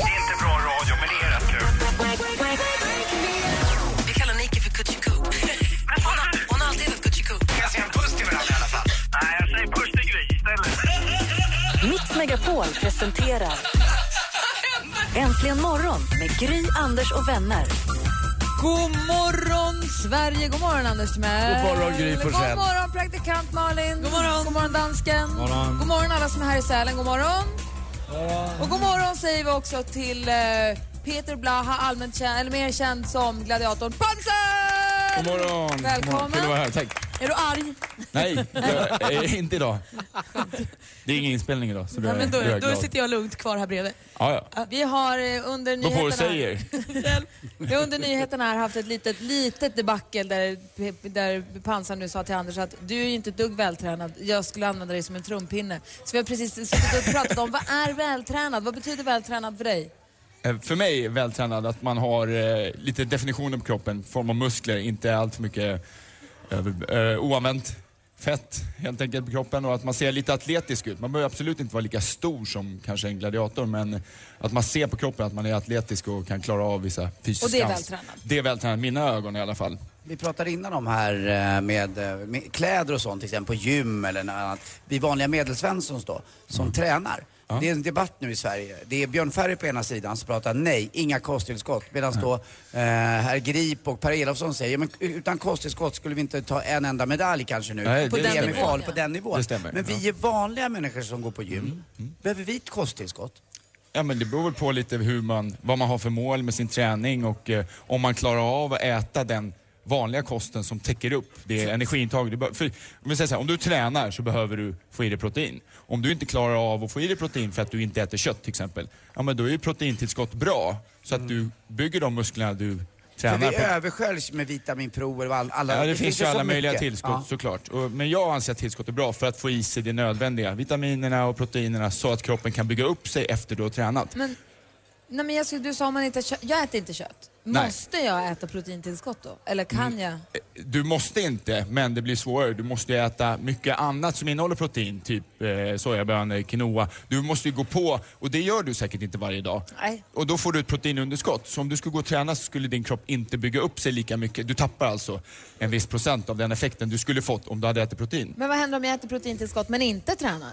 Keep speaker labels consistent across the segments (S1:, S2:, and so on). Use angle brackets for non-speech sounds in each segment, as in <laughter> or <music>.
S1: Inte bra radio, men det är rätt kul.
S2: Vi kallar Nike för Kutjiku. Hon, har- hon har alltid hetat Kutjiku.
S1: Kan jag säga en puss till varandra i alla fall? Nej, jag säger puss till Gry istället.
S3: Mix Megapol presenterar Äntligen morgon med Gry, Anders och vänner.
S4: God morgon, Sverige! God morgon, Anders Timell!
S5: God morgon, Gry Forssell.
S4: God morgon, praktikant Malin! God morgon, god morgon dansken! God
S5: morgon.
S4: god morgon alla som är här i Sälen! God morgon! Och god morgon säger vi också till eh, Peter Blaha, allmänt känd, eller mer känd som gladiatorn Panser!
S5: God morgon.
S4: Välkommen!
S5: Kul att vara här, tack.
S4: Är du arg?
S5: Nej, jag, eh, inte idag. Det är ingen inspelning idag. Så då, är-
S6: Men då,
S5: är jag
S6: då
S5: glad.
S6: sitter jag lugnt kvar här bredvid.
S5: Ja, ja.
S4: Vi har eh, under
S5: Då får
S4: nyheterna...
S5: du säga er.
S4: <laughs> Vi har under nyheterna här haft ett litet, litet debacle där, där Pansar nu sa till Anders att du är ju inte ett dugg vältränad, jag skulle använda dig som en trumpinne. Så vi har precis suttit och pratat om vad är vältränad? Vad betyder vältränad för dig?
S5: Eh, För mig är vältränad att man har eh, lite definitioner på kroppen, form av muskler, inte allt för mycket eh, eh, oanvänt fett helt enkelt på kroppen och att man ser lite atletisk ut. Man behöver absolut inte vara lika stor som kanske en gladiator men att man ser på kroppen att man är atletisk och kan klara av vissa fysiska...
S4: Och det är
S5: ans-
S4: vältränad?
S5: Det är vältränad, i mina ögon i alla fall.
S7: Vi pratade innan om här eh, med, eh, med kläder och sånt, till exempel på gym eller något annat. Vi vanliga medelsvenssons då, som
S5: Mm.
S7: tränar. Det är en debatt nu i Sverige. Det är Björn Ferry på ena sidan som pratar nej, inga kosttillskott. Medan då eh, herr Grip och Per Elofsson säger, "Ja, men utan kosttillskott skulle vi inte ta en enda medalj kanske nu.
S5: Nej,
S7: på,
S5: det
S7: den
S5: stämmer.
S7: nivån, på den nivån.
S5: Det stämmer, Mm,
S7: Men vi är vanliga människor som går på gym. Behöver vi ett kosttillskott?
S5: Ja, men det beror väl på lite hur man, vad man har för mål med sin träning och eh, om man klarar av att äta den vanliga kosten som täcker upp det energiintag du behöver. För Om, jag säger så här, om du tränar så behöver du få i dig protein. Om du inte klarar av att få i dig protein för att du inte äter kött till exempel, ja men då är ju proteintillskott bra så att du bygger de musklerna du
S7: Mm. För
S5: tränar
S7: vi
S5: på.
S7: översköljs med vitaminprover och all, alla...
S5: Ja, det, finns ju
S7: så
S5: alla möjliga
S7: mycket.
S5: tillskott
S7: Ja.
S5: såklart. Och, men jag anser att tillskott är bra för att få i sig det nödvändiga. Vitaminerna och proteinerna så att kroppen kan bygga upp sig efter du har tränat.
S4: Men, nej men jag, skulle- du sa om man inte kö- jag äter inte kött.
S5: Nej.
S4: Måste jag äta proteintillskott då? Eller kan jag?
S5: Du måste inte, men det blir svårare. Du måste ju äta mycket annat som innehåller protein, typ eh, sojabönor, quinoa. Du måste ju gå på, och det gör du säkert inte varje dag.
S4: Nej.
S5: Och då får du ett proteinunderskott. Så om du skulle gå och träna så skulle din kropp inte bygga upp sig lika mycket. Du tappar alltså en viss procent av den effekten du skulle fått om du hade ätit protein.
S4: Men vad händer om jag äter proteintillskott men inte tränar?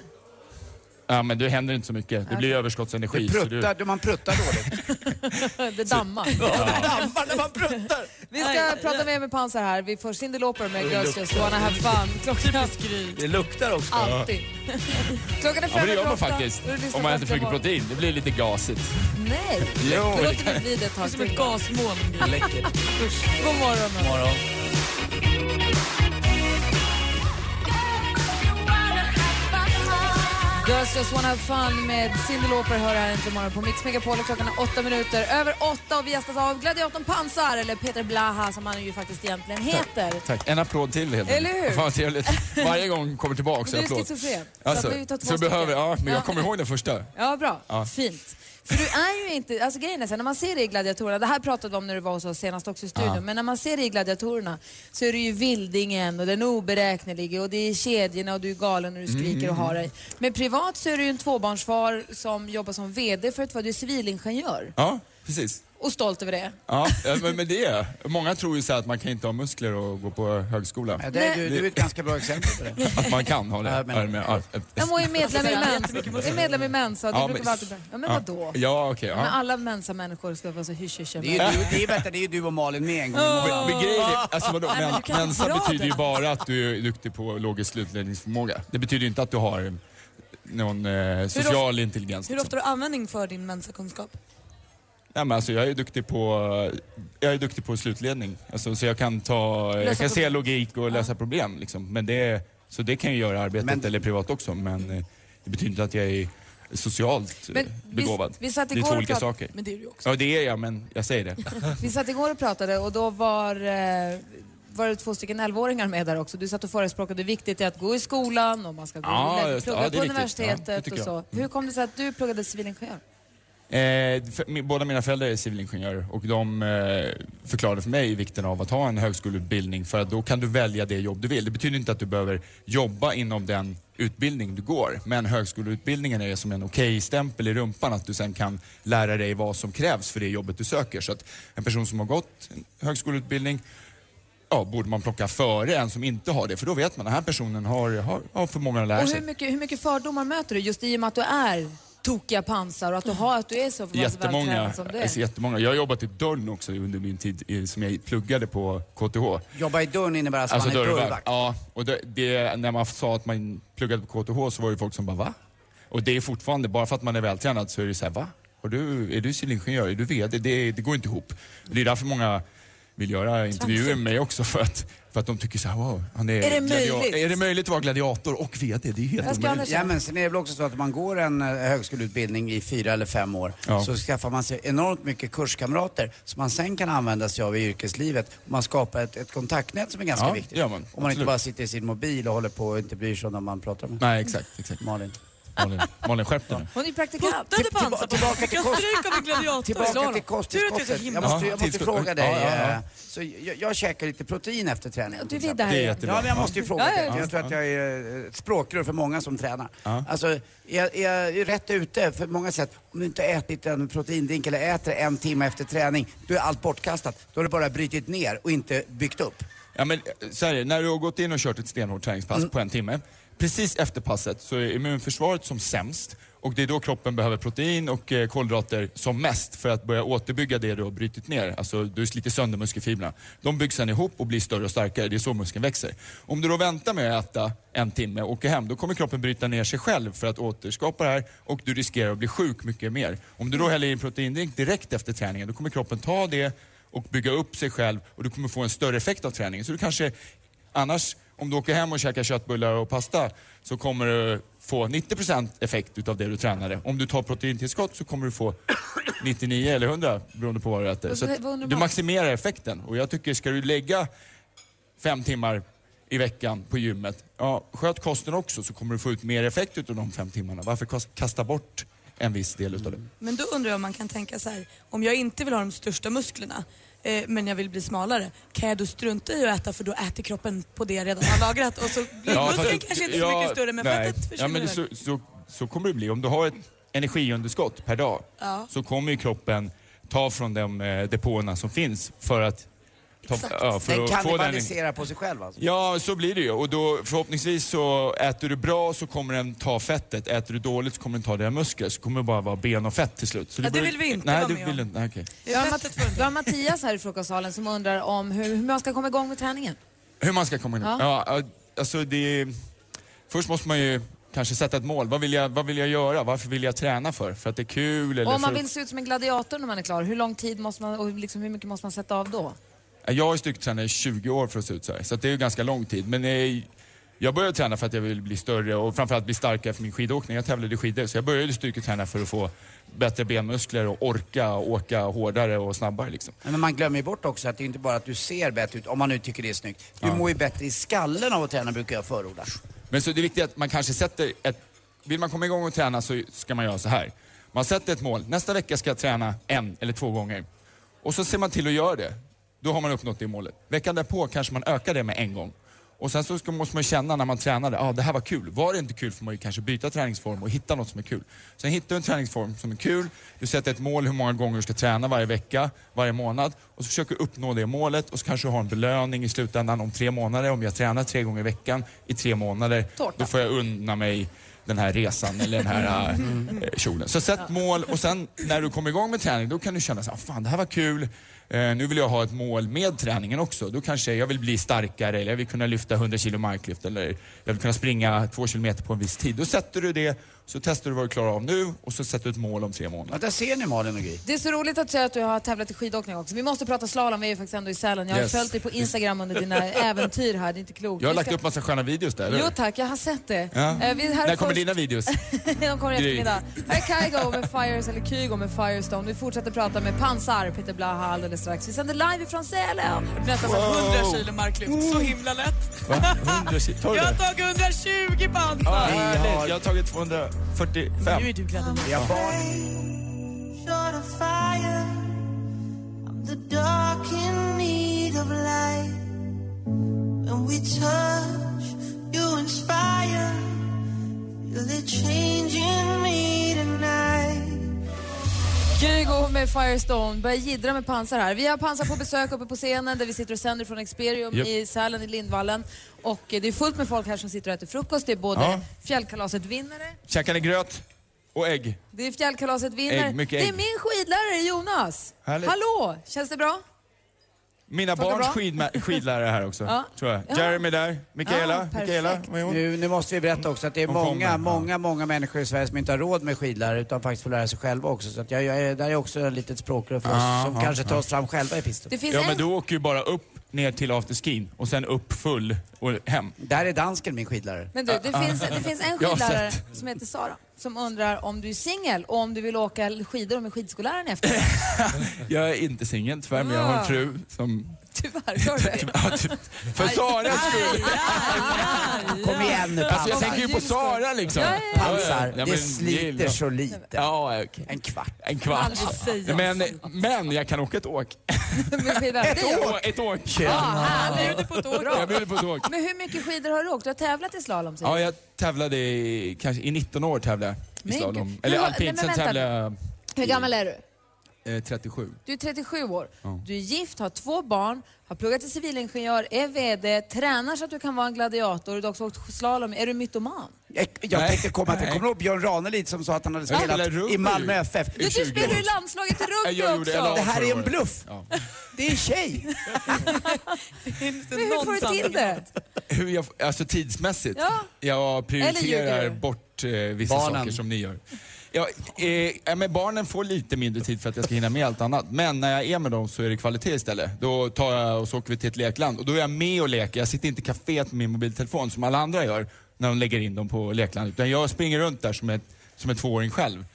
S5: Ja, men det händer inte så mycket. Det blir överskottsenergi.
S7: Det
S5: så du-
S7: pruttar, man pruttar dåligt.
S4: Det dammar.
S7: <laughs> Dampar när man pruttar!
S4: Vi ska prata mer med Pansar här. Vi får Cyndi Lauper med Girls Just Wanna Have Fun. Klockan...
S6: Det luktar också.
S4: Alltid. <laughs> Klockan är
S5: Ja,
S4: fem
S5: men det
S4: över
S5: gör man
S4: åtta.
S5: faktiskt.
S4: Och du lyssnar
S5: Om man
S4: på
S5: äter för mycket
S4: Äntligen
S5: protein. Det blir lite gasigt.
S4: morgon. Nej,
S5: Jo,
S4: då
S5: det
S4: låter
S5: kan-
S4: vi bli det ett tag
S6: Som
S4: till.
S6: ett gasmoln.
S7: Läckert.
S4: God morgon. då.
S7: Morgon.
S4: Girls Just Wanna Have Fun med Cyndi Lauper hör här äntligen morgon på Mix Megapol. Och Klockan är åtta minuter över åtta och vi gästas av gladiatorn Pansar, eller Peter Blaha som han ju faktiskt egentligen heter.
S5: Tack. En applåd till helt
S4: Eller
S5: enkelt.
S4: hur?
S5: Fan vad trevligt. Varje gång kommer tillbaka så
S4: Du är
S5: applåd.
S4: schizofren, så
S5: Alltså,
S4: att vi tar två
S5: så
S4: stycken.
S5: behöver, ja, men
S4: Ja.
S5: jag kommer ihåg den första.
S4: Ja, bra.
S5: Ja.
S4: Fint. För du är ju inte, alltså grejen är så här, när man ser dig i Gladiatorerna, det här pratade vi om när du var hos oss senast också i studion, men när man ser dig i Gladiatorerna så är du ju vildingen och den oberäknelige och det är kedjorna och du är galen när du skriker och har dig. Men privat så är du ju en tvåbarnsfar som jobbar som VD för ett vad du är civilingenjör
S5: Ja, precis.
S4: och stolt över det.
S5: Ja, eh, men, men det är jag. Många tror ju så här att man kan inte ha muskler och gå på högskola.
S7: Ja, det är, du, du är ett ganska bra exempel på det.
S5: Att man kan ha det.
S7: Ja, men-
S5: Ja, men- ja, eh,
S4: Jag är medlem i Mensa, är medlem i Mensa, det
S5: Ja,
S4: brukar
S5: men-
S4: vara alltid bra. Ja men vadå?
S5: Ja, okej.
S4: Men
S5: ja.
S4: alla Mensa-människor ska vara så hysch
S7: Det är ju du, det är, vänta, det är ju du och Malin med en gång i
S5: Men-
S7: månaden.
S5: Men grejen är, alltså vadå,
S6: Nej, men du
S5: men,
S6: kan
S5: mensa
S6: dra
S5: betyder ju
S6: den.
S5: bara att du är duktig på logisk slutledningsförmåga. Det betyder ju inte att du har eh, någon eh, social intelligens.
S6: Hur
S5: liksom.
S6: ofta har du användning för din mensakunskap?
S5: Nej, men alltså, jag är duktig på, jag är duktig på slutledning. Alltså, så jag kan, ta, jag kan se
S6: problem.
S5: logik och lösa problem. Liksom. Men det, så det kan jag göra i arbetet
S7: Men-
S5: eller privat också. Men eh, det betyder inte att jag är socialt eh,
S4: Men vi-
S5: begåvad.
S4: vi satt
S5: det är
S4: igår
S5: två
S4: och
S5: olika
S4: prat-
S5: saker.
S4: Men det är du
S5: <laughs> också. Ja, det är jag, men jag säger det.
S4: Vi satt igår och pratade och då var, eh, var det två stycken 11-åringar med där också. Du satt och förespråkade hur viktigt det är att gå i skolan och man ska gå
S5: Ja,
S4: och
S5: just det.
S4: plugga
S5: Ja, det
S4: på
S5: är viktigt. Ja, det
S4: universitetet
S5: tycker
S4: och så.
S5: jag. Mm.
S4: Hur kom det sig att du pluggade civilingenjör?
S5: Eh, för, mi- båda mina föräldrar är civilingenjörer och de eh, förklarade för mig vikten av att ha en högskoleutbildning för att då kan du välja det jobb du vill. Det betyder inte att du behöver jobba inom den utbildning du går men högskoleutbildningen är som en okej-stämpel i rumpan att du sen kan lära dig vad som krävs för det jobbet du söker. Så att en person som har gått en högskoleutbildning ja, borde man plocka före en som inte har det för då vet man att den här personen har, har, har förmågan att lära
S4: Och
S5: sig.
S4: hur mycket, hur mycket fördomar möter du just i och med att du är tokiga pansar och att du, har, att du är så förvånansvärt
S5: Jättemånga,
S4: vältränad som du
S5: jag ser
S4: är?
S5: jättemånga. Jag har jobbat i dörren också under min tid i, som jag pluggade på KTH.
S7: Jobba i dörren innebär alltså, man är dörrvakt.
S5: Ja, och det, det, när man sa att man pluggade på KTH så var det folk som bara va? Och det är fortfarande, bara för att man är vältränad så är det så här va? Och du, är du civilingenjör? Är du VD? Det, det går inte ihop. Det är därför många vill göra intervjuer med mig också för att, för att de tycker så här wow, han är,
S7: Är det
S5: gladia-
S7: möjligt?
S5: är det möjligt att vara gladiator och VD? Det är helt omöjligt.
S7: Ja, men sen är det väl också så att om man går en eh, högskoleutbildning i fyra eller fem år
S5: Ja.
S7: så skaffar man sig enormt mycket kurskamrater som man sen kan använda sig av i yrkeslivet. Och man skapar ett, ett kontaktnät som är ganska
S5: Ja,
S7: viktigt.
S5: det gör man.
S7: Om man inte
S5: Absolut.
S7: bara sitter i sin mobil och håller på och inte bryr sig om dem man pratar med.
S5: Nej, exakt. exakt.
S7: Malin.
S5: Malin, Malin skärp dig nu.
S4: Hon är praktikant. Typ-
S6: Puttade pansar på
S7: tillbaka
S6: mig.
S7: till
S6: Jag
S7: kost-
S6: stryker med gladiator.
S7: Tillbaka till kosttillskottet. Jag måste, jag måste
S5: Tillskott.
S7: fråga dig.
S5: Ja, ja, ja.
S7: eh, Så jag, jag käkar lite protein efter träningen.
S4: Du
S7: till
S4: vill
S7: exempel.
S4: det här Det är igen.
S7: Ja,
S4: jättebra.
S7: men jag måste ju fråga
S4: Ja, ja,
S7: dig.
S4: ja.
S7: Jag tror att jag är eh, ett språkrör för många som tränar.
S5: Ja.
S7: Alltså, är, jag- är jag rätt ute för många sätt? Om du inte har ätit en proteindrink eller äter en timme efter träning, då är allt bortkastat. Då har du bara brytit ner och inte byggt upp.
S5: Ja, men, eh, så här, är det. när du har gått in och kört ett stenhårt träningspass på en timme, precis efter passet så är immunförsvaret som sämst och det är då kroppen behöver protein och eh, kolhydrater som mest för att börja återbygga det du har brutit ner. Alltså du sliter sönder muskelfibrerna. De byggs sedan ihop och blir större och starkare. Det är så muskeln växer. Om du då väntar med att äta en timme och åker hem, då kommer kroppen bryta ner sig själv för att återskapa det här och du riskerar att bli sjuk mycket mer. Om du då häller i en proteindrink direkt efter träningen, då kommer kroppen ta det och bygga upp sig själv och du kommer få en större effekt av träningen. Så du kanske annars, om du åker hem och käkar köttbullar och pasta så kommer du få 90% effekt utav det du tränade. Om du tar proteintillskott så kommer du få 99 eller 100 beroende på vad du äter.
S4: Vad-
S5: Så att
S4: vad undrar
S5: du
S4: man?
S5: maximerar effekten och jag tycker ska du lägga fem timmar i veckan på gymmet, ja, sköt kosten också så kommer du få ut mer effekt utav de fem timmarna. Varför kas- kasta bort en viss del utav det?
S6: Men då undrar jag om man kan tänka så här, om jag inte vill ha de största musklerna eh, men jag vill bli smalare, kan jag då strunta i att äta för då äter kroppen på det jag redan har lagrat och så blir muskeln
S5: fast-
S6: kanske inte så
S5: ja,
S6: mycket större men
S5: nej.
S6: fettet
S5: ja,
S6: försvinner
S5: men det, så,
S6: iväg.
S5: så, så kommer det bli. Om du har ett energiunderskott per dag
S6: Ja.
S5: så kommer ju kroppen ta från de eh, depåerna som finns för att ta, ja, för
S7: Den
S5: att få den
S7: kannibaliserar på sig själv alltså.
S5: Ja, så blir det ju. Och då, förhoppningsvis så äter du bra så kommer den ta fettet. Äter du dåligt så kommer den ta dina muskler. Så kommer det bara vara ben och fett till slut. Så
S4: Ja, det
S5: blir-
S4: vill vi inte
S5: nej,
S4: vara
S5: det
S4: med
S5: vill
S4: om.
S5: inte. Nej, okej.
S4: Vi har, Mat- vi har Mattias här i frukostsalen som undrar om hur, hur man ska komma igång med träningen.
S5: Hur man ska komma in?
S4: Ja.
S5: Ja. Ja, alltså det... Först måste man ju kanske sätta ett mål. Vad vill jag, vad vill jag göra? Varför vill jag träna för? För att det är kul? Eller
S4: Och om man
S5: för...
S4: vill se ut som en gladiator när man är klar, hur lång tid måste man och liksom, hur mycket måste man sätta av då?
S5: Jag har ju styrketränat i 20 år för att se ut så här. Så att det är ju ganska lång tid. Men eh, jag började träna för att jag vill bli större och framförallt bli starkare för min skidåkning. Jag tävlade i skidor så jag började styrketräna för att få bättre benmuskler och orka åka hårdare och snabbare liksom.
S7: Nej, Men man glömmer ju bort också att det är inte bara att du ser bättre ut, om man nu tycker det är snyggt. Du mår ju bättre i skallen av att träna, brukar jag förorda.
S5: Men så det viktiga är att man kanske sätter ett... Vill man komma igång och träna så ska man göra så här. Man sätter ett mål. Nästa vecka ska jag träna en eller två gånger. Och så ser man till att göra det. Då har man uppnått det målet. Veckan därpå kanske man ökar det med en gång. Och sen så ska, måste man känna när man tränade, ah, det här var kul. Var det inte kul får man ju kanske byta träningsform och hitta något som är kul. Sen hittar du en träningsform som är kul, du sätter ett mål hur många gånger du ska träna varje vecka, varje månad och så försöker du uppnå det målet och så kanske du har en belöning i slutändan om tre månader. Om jag tränar tre gånger i veckan i tre månader,
S4: Tårta.
S5: då får jag unna mig den här resan eller
S4: <laughs>
S5: den här eh, kjolen. Så sätt mål och sen när du kommer igång med träning då kan du känna så här, fan "Ah, det här var kul. Eh, nu vill jag ha ett mål med träningen också. Då kanske jag vill bli starkare eller jag vill kunna lyfta 100 kilo marklyft eller jag vill kunna springa två kilometer på en viss tid. Då sätter du det, så testar du vad du klarar av nu och så sätter du ett mål om tre månader.
S7: Där ser ni Malin och Gry.
S4: Det är så roligt att säga att du har tävlat i skidåkning också. Vi måste prata slalom, vi är ju faktiskt ändå i Sälen. Jag har
S5: Yes.
S4: följt dig på Instagram under
S5: <laughs>
S4: dina äventyr här, det är inte klokt.
S5: Jag har
S4: Vi
S5: lagt
S4: ska-
S5: upp massa sköna videos där, eller
S4: Jo
S5: hur?
S4: tack, jag har sett det.
S5: Ja.
S4: Eh, vi är här
S5: När kommer
S4: först-
S5: dina videos?
S4: <laughs> De kommer i
S5: Gry.
S4: eftermiddag. Här är Kygo med Fires, eller Kygo med Firestone. Vi fortsätter prata med Pansar, Peter Blaha alldeles strax. Vi sänder live ifrån Sälen.
S6: Nästan så här 100 kilo marklyft. Så himla lätt.
S5: Va? 100 kilo? Tar du
S6: Jag har
S5: det?
S6: tagit 120 band.
S5: Ja, härligt. Jag har tagit 245.
S6: Nu är du glad.
S7: Vi har barn.
S4: Kygo med Firestone börjar jiddra med Pansar här. Vi har Pansar på besök uppe på scenen där vi sitter och sänder från Experium
S5: Japp.
S4: i Sälen i Lindvallen. Och eh, det är fullt med folk här som sitter och äter frukost. Det är både
S5: Ja.
S4: Fjällkalaset-vinnare,
S5: Käkar ni gröt och ägg?
S4: det är Fjällkalaset-vinnare.
S5: Ägg, mycket
S4: det är
S5: ägg.
S4: min skidlärare Jonas.
S5: Härligt.
S4: Hallå, känns det bra?
S5: Mina
S4: Funkar
S5: barns
S4: bra?
S5: skidma- skidlärare här också,
S4: Ja.
S5: tror jag.
S4: Ja.
S5: Jeremy där,
S4: Ja,
S5: Mikaela,
S4: perfekt.
S5: Mikaela, vad är hon?
S7: Nu, nu måste vi berätta också att det är
S5: De
S7: många,
S5: kommer.
S7: många, många människor i Sverige som inte har råd med skidlärare utan faktiskt får lära sig själva också. Så att jag, jag är, där är också ett litet språkrör för oss
S5: Ah,
S7: som
S5: ah,
S7: kanske tar oss fram själva i pisten.
S4: Det finns
S5: Ja,
S4: en
S5: men du åker ju bara upp ner till afterskin och sen upp full och hem.
S7: Där är dansken min skidlärare.
S4: Men du, det finns, det finns en
S5: Jag har
S4: skidlärare
S5: sett.
S4: som heter Sara som undrar om du är singel och om du vill åka skidor med skidskolläraren efter.
S5: <laughs> Jag är inte singel tyvärr, men jag har en fru som...
S4: Tyvärr, sa du det?
S5: Ja, typ. För Saras skull!
S7: Kom igen nu
S5: Alltså jag
S7: pansar.
S5: tänker ju på Sara liksom.
S4: Ja, ja, ja.
S7: Pansar,
S5: Ja, men
S7: det
S5: gillar-
S7: sliter så lite.
S5: Ja, okej.
S7: En kvart.
S5: En kvart. Men, men jag kan åka ett åk.
S4: Med skidläraren. Det är jag.
S5: Ett åk!
S4: Härligt. Bra.
S5: Jag bjuder på ett åk.
S4: Men hur mycket skidor har du åkt? Du har tävlat i slalom säger
S5: Ja, jag tävlade i, kanske, i 19 år tävlade jag
S4: Men
S5: i slalom.
S4: gud.
S5: Eller
S4: Men vad-
S5: alpint,
S4: nej,
S5: sen
S4: men vänta.
S5: tävlade
S4: du. Hur gammal är du?
S5: jag eh, 37.
S4: Du är 37 år.
S5: Ja.
S4: Du är gift, har två barn, har pluggat till civilingenjör, är VD, tränar så att du kan vara en gladiator och du har också åkt slalom. Är du mytoman?
S7: Jag, jag
S5: Nej.
S7: tänkte komma till,
S5: Nej.
S7: kommer du ihåg Björn Ranelid som sa att han hade
S5: Jag
S7: spelat
S5: spelar rugby.
S7: i Malmö FF?
S4: Du, du
S5: 20
S4: spelar ju
S5: år.
S4: landslaget i rugby
S5: Jag gjorde-
S4: också.
S5: jag la-
S7: Det här är en
S5: året.
S7: bluff!
S5: Ja.
S7: Det är tjej!
S4: Men hur får du till det?
S5: Hur jag, alltså tidsmässigt?
S4: Ja. Eller
S5: Jag
S4: ljuger
S5: prioriterar
S4: du?
S5: bort eh, vissa
S7: Barnen.
S5: saker som ni gör. Ja, eh, ja, men barnen får lite mindre tid för att jag ska hinna med allt annat. Men när jag är med dem så är det kvalitet istället. Då tar jag och så åker vi till ett lekland och då är jag med och leker. Jag sitter inte i kaféet med min mobiltelefon som alla andra gör när de lägger in dem på lekland. Utan jag springer runt där som, ett, som en tvååring själv.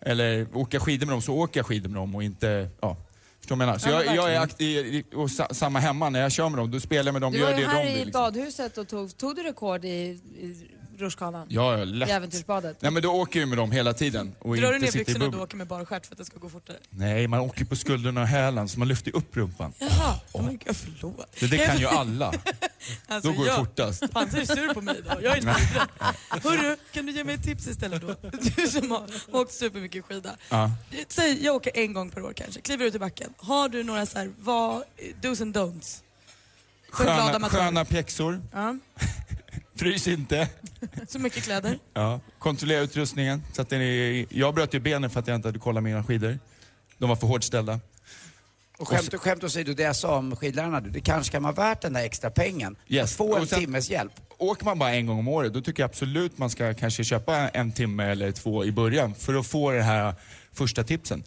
S5: Eller åker jag skidor med dem så åker jag skidor med dem och inte, ja. Förstår du vad jag menar? Så
S4: Ja, men
S5: jag, jag är aktiv och sa, samma hemma när jag kör med dem. Då spelar jag med dem,
S4: Du
S5: gör
S4: var
S5: det
S4: ju
S5: de
S4: här
S5: vill.
S4: i
S5: liksom.
S4: badhuset och tog, tog du rekord i, i rutschkanan?
S5: Ja, ja, lätt.
S4: I äventyrsbadet.
S5: Nej, men då åker jag ju med dem hela tiden. Och
S6: Drar du
S5: inte
S6: ner
S5: sitter i
S6: byxorna och
S5: bubblan.
S6: du åker med bara stjärt för att det ska gå fortare?
S5: Nej, man åker på skulderna och hälen så man lyfter upp rumpan.
S6: Jaha, oh my God, <laughs> förlåt.
S5: Det, det kan ju alla.
S6: Alltså,
S5: Då går det
S6: jag-
S5: fortast.
S6: Pansar är sur på mig idag. Jag är inte vidrig. Hörru, kan du ge mig ett tips istället då? Du som har åkt supermycket skida.
S5: Ja.
S6: Säg, jag åker en gång per år kanske, kliver ut i backen. Har du några så här, vad, do's and don'ts? För glada
S5: Sköna,
S6: amatörer.
S5: sköna pjäxor.
S6: Ja.
S5: <laughs> Frys inte.
S6: Så mycket kläder.
S5: Ja. Kontrollera utrustningen. Så att den är, jag bröt ju benen för att jag inte hade kollat mina skidor. De var för hårt ställda.
S7: Och skämt, skämt åsido, det jag sa om skidlärarna, du, det kanske kan vara värt den där extra pengen.
S5: Yes.
S7: Att få en
S5: Och sen-
S7: timmes hjälp.
S5: Åker man bara en gång om året, då tycker jag absolut man ska kanske köpa en timme eller två i början för att få det här första tipsen.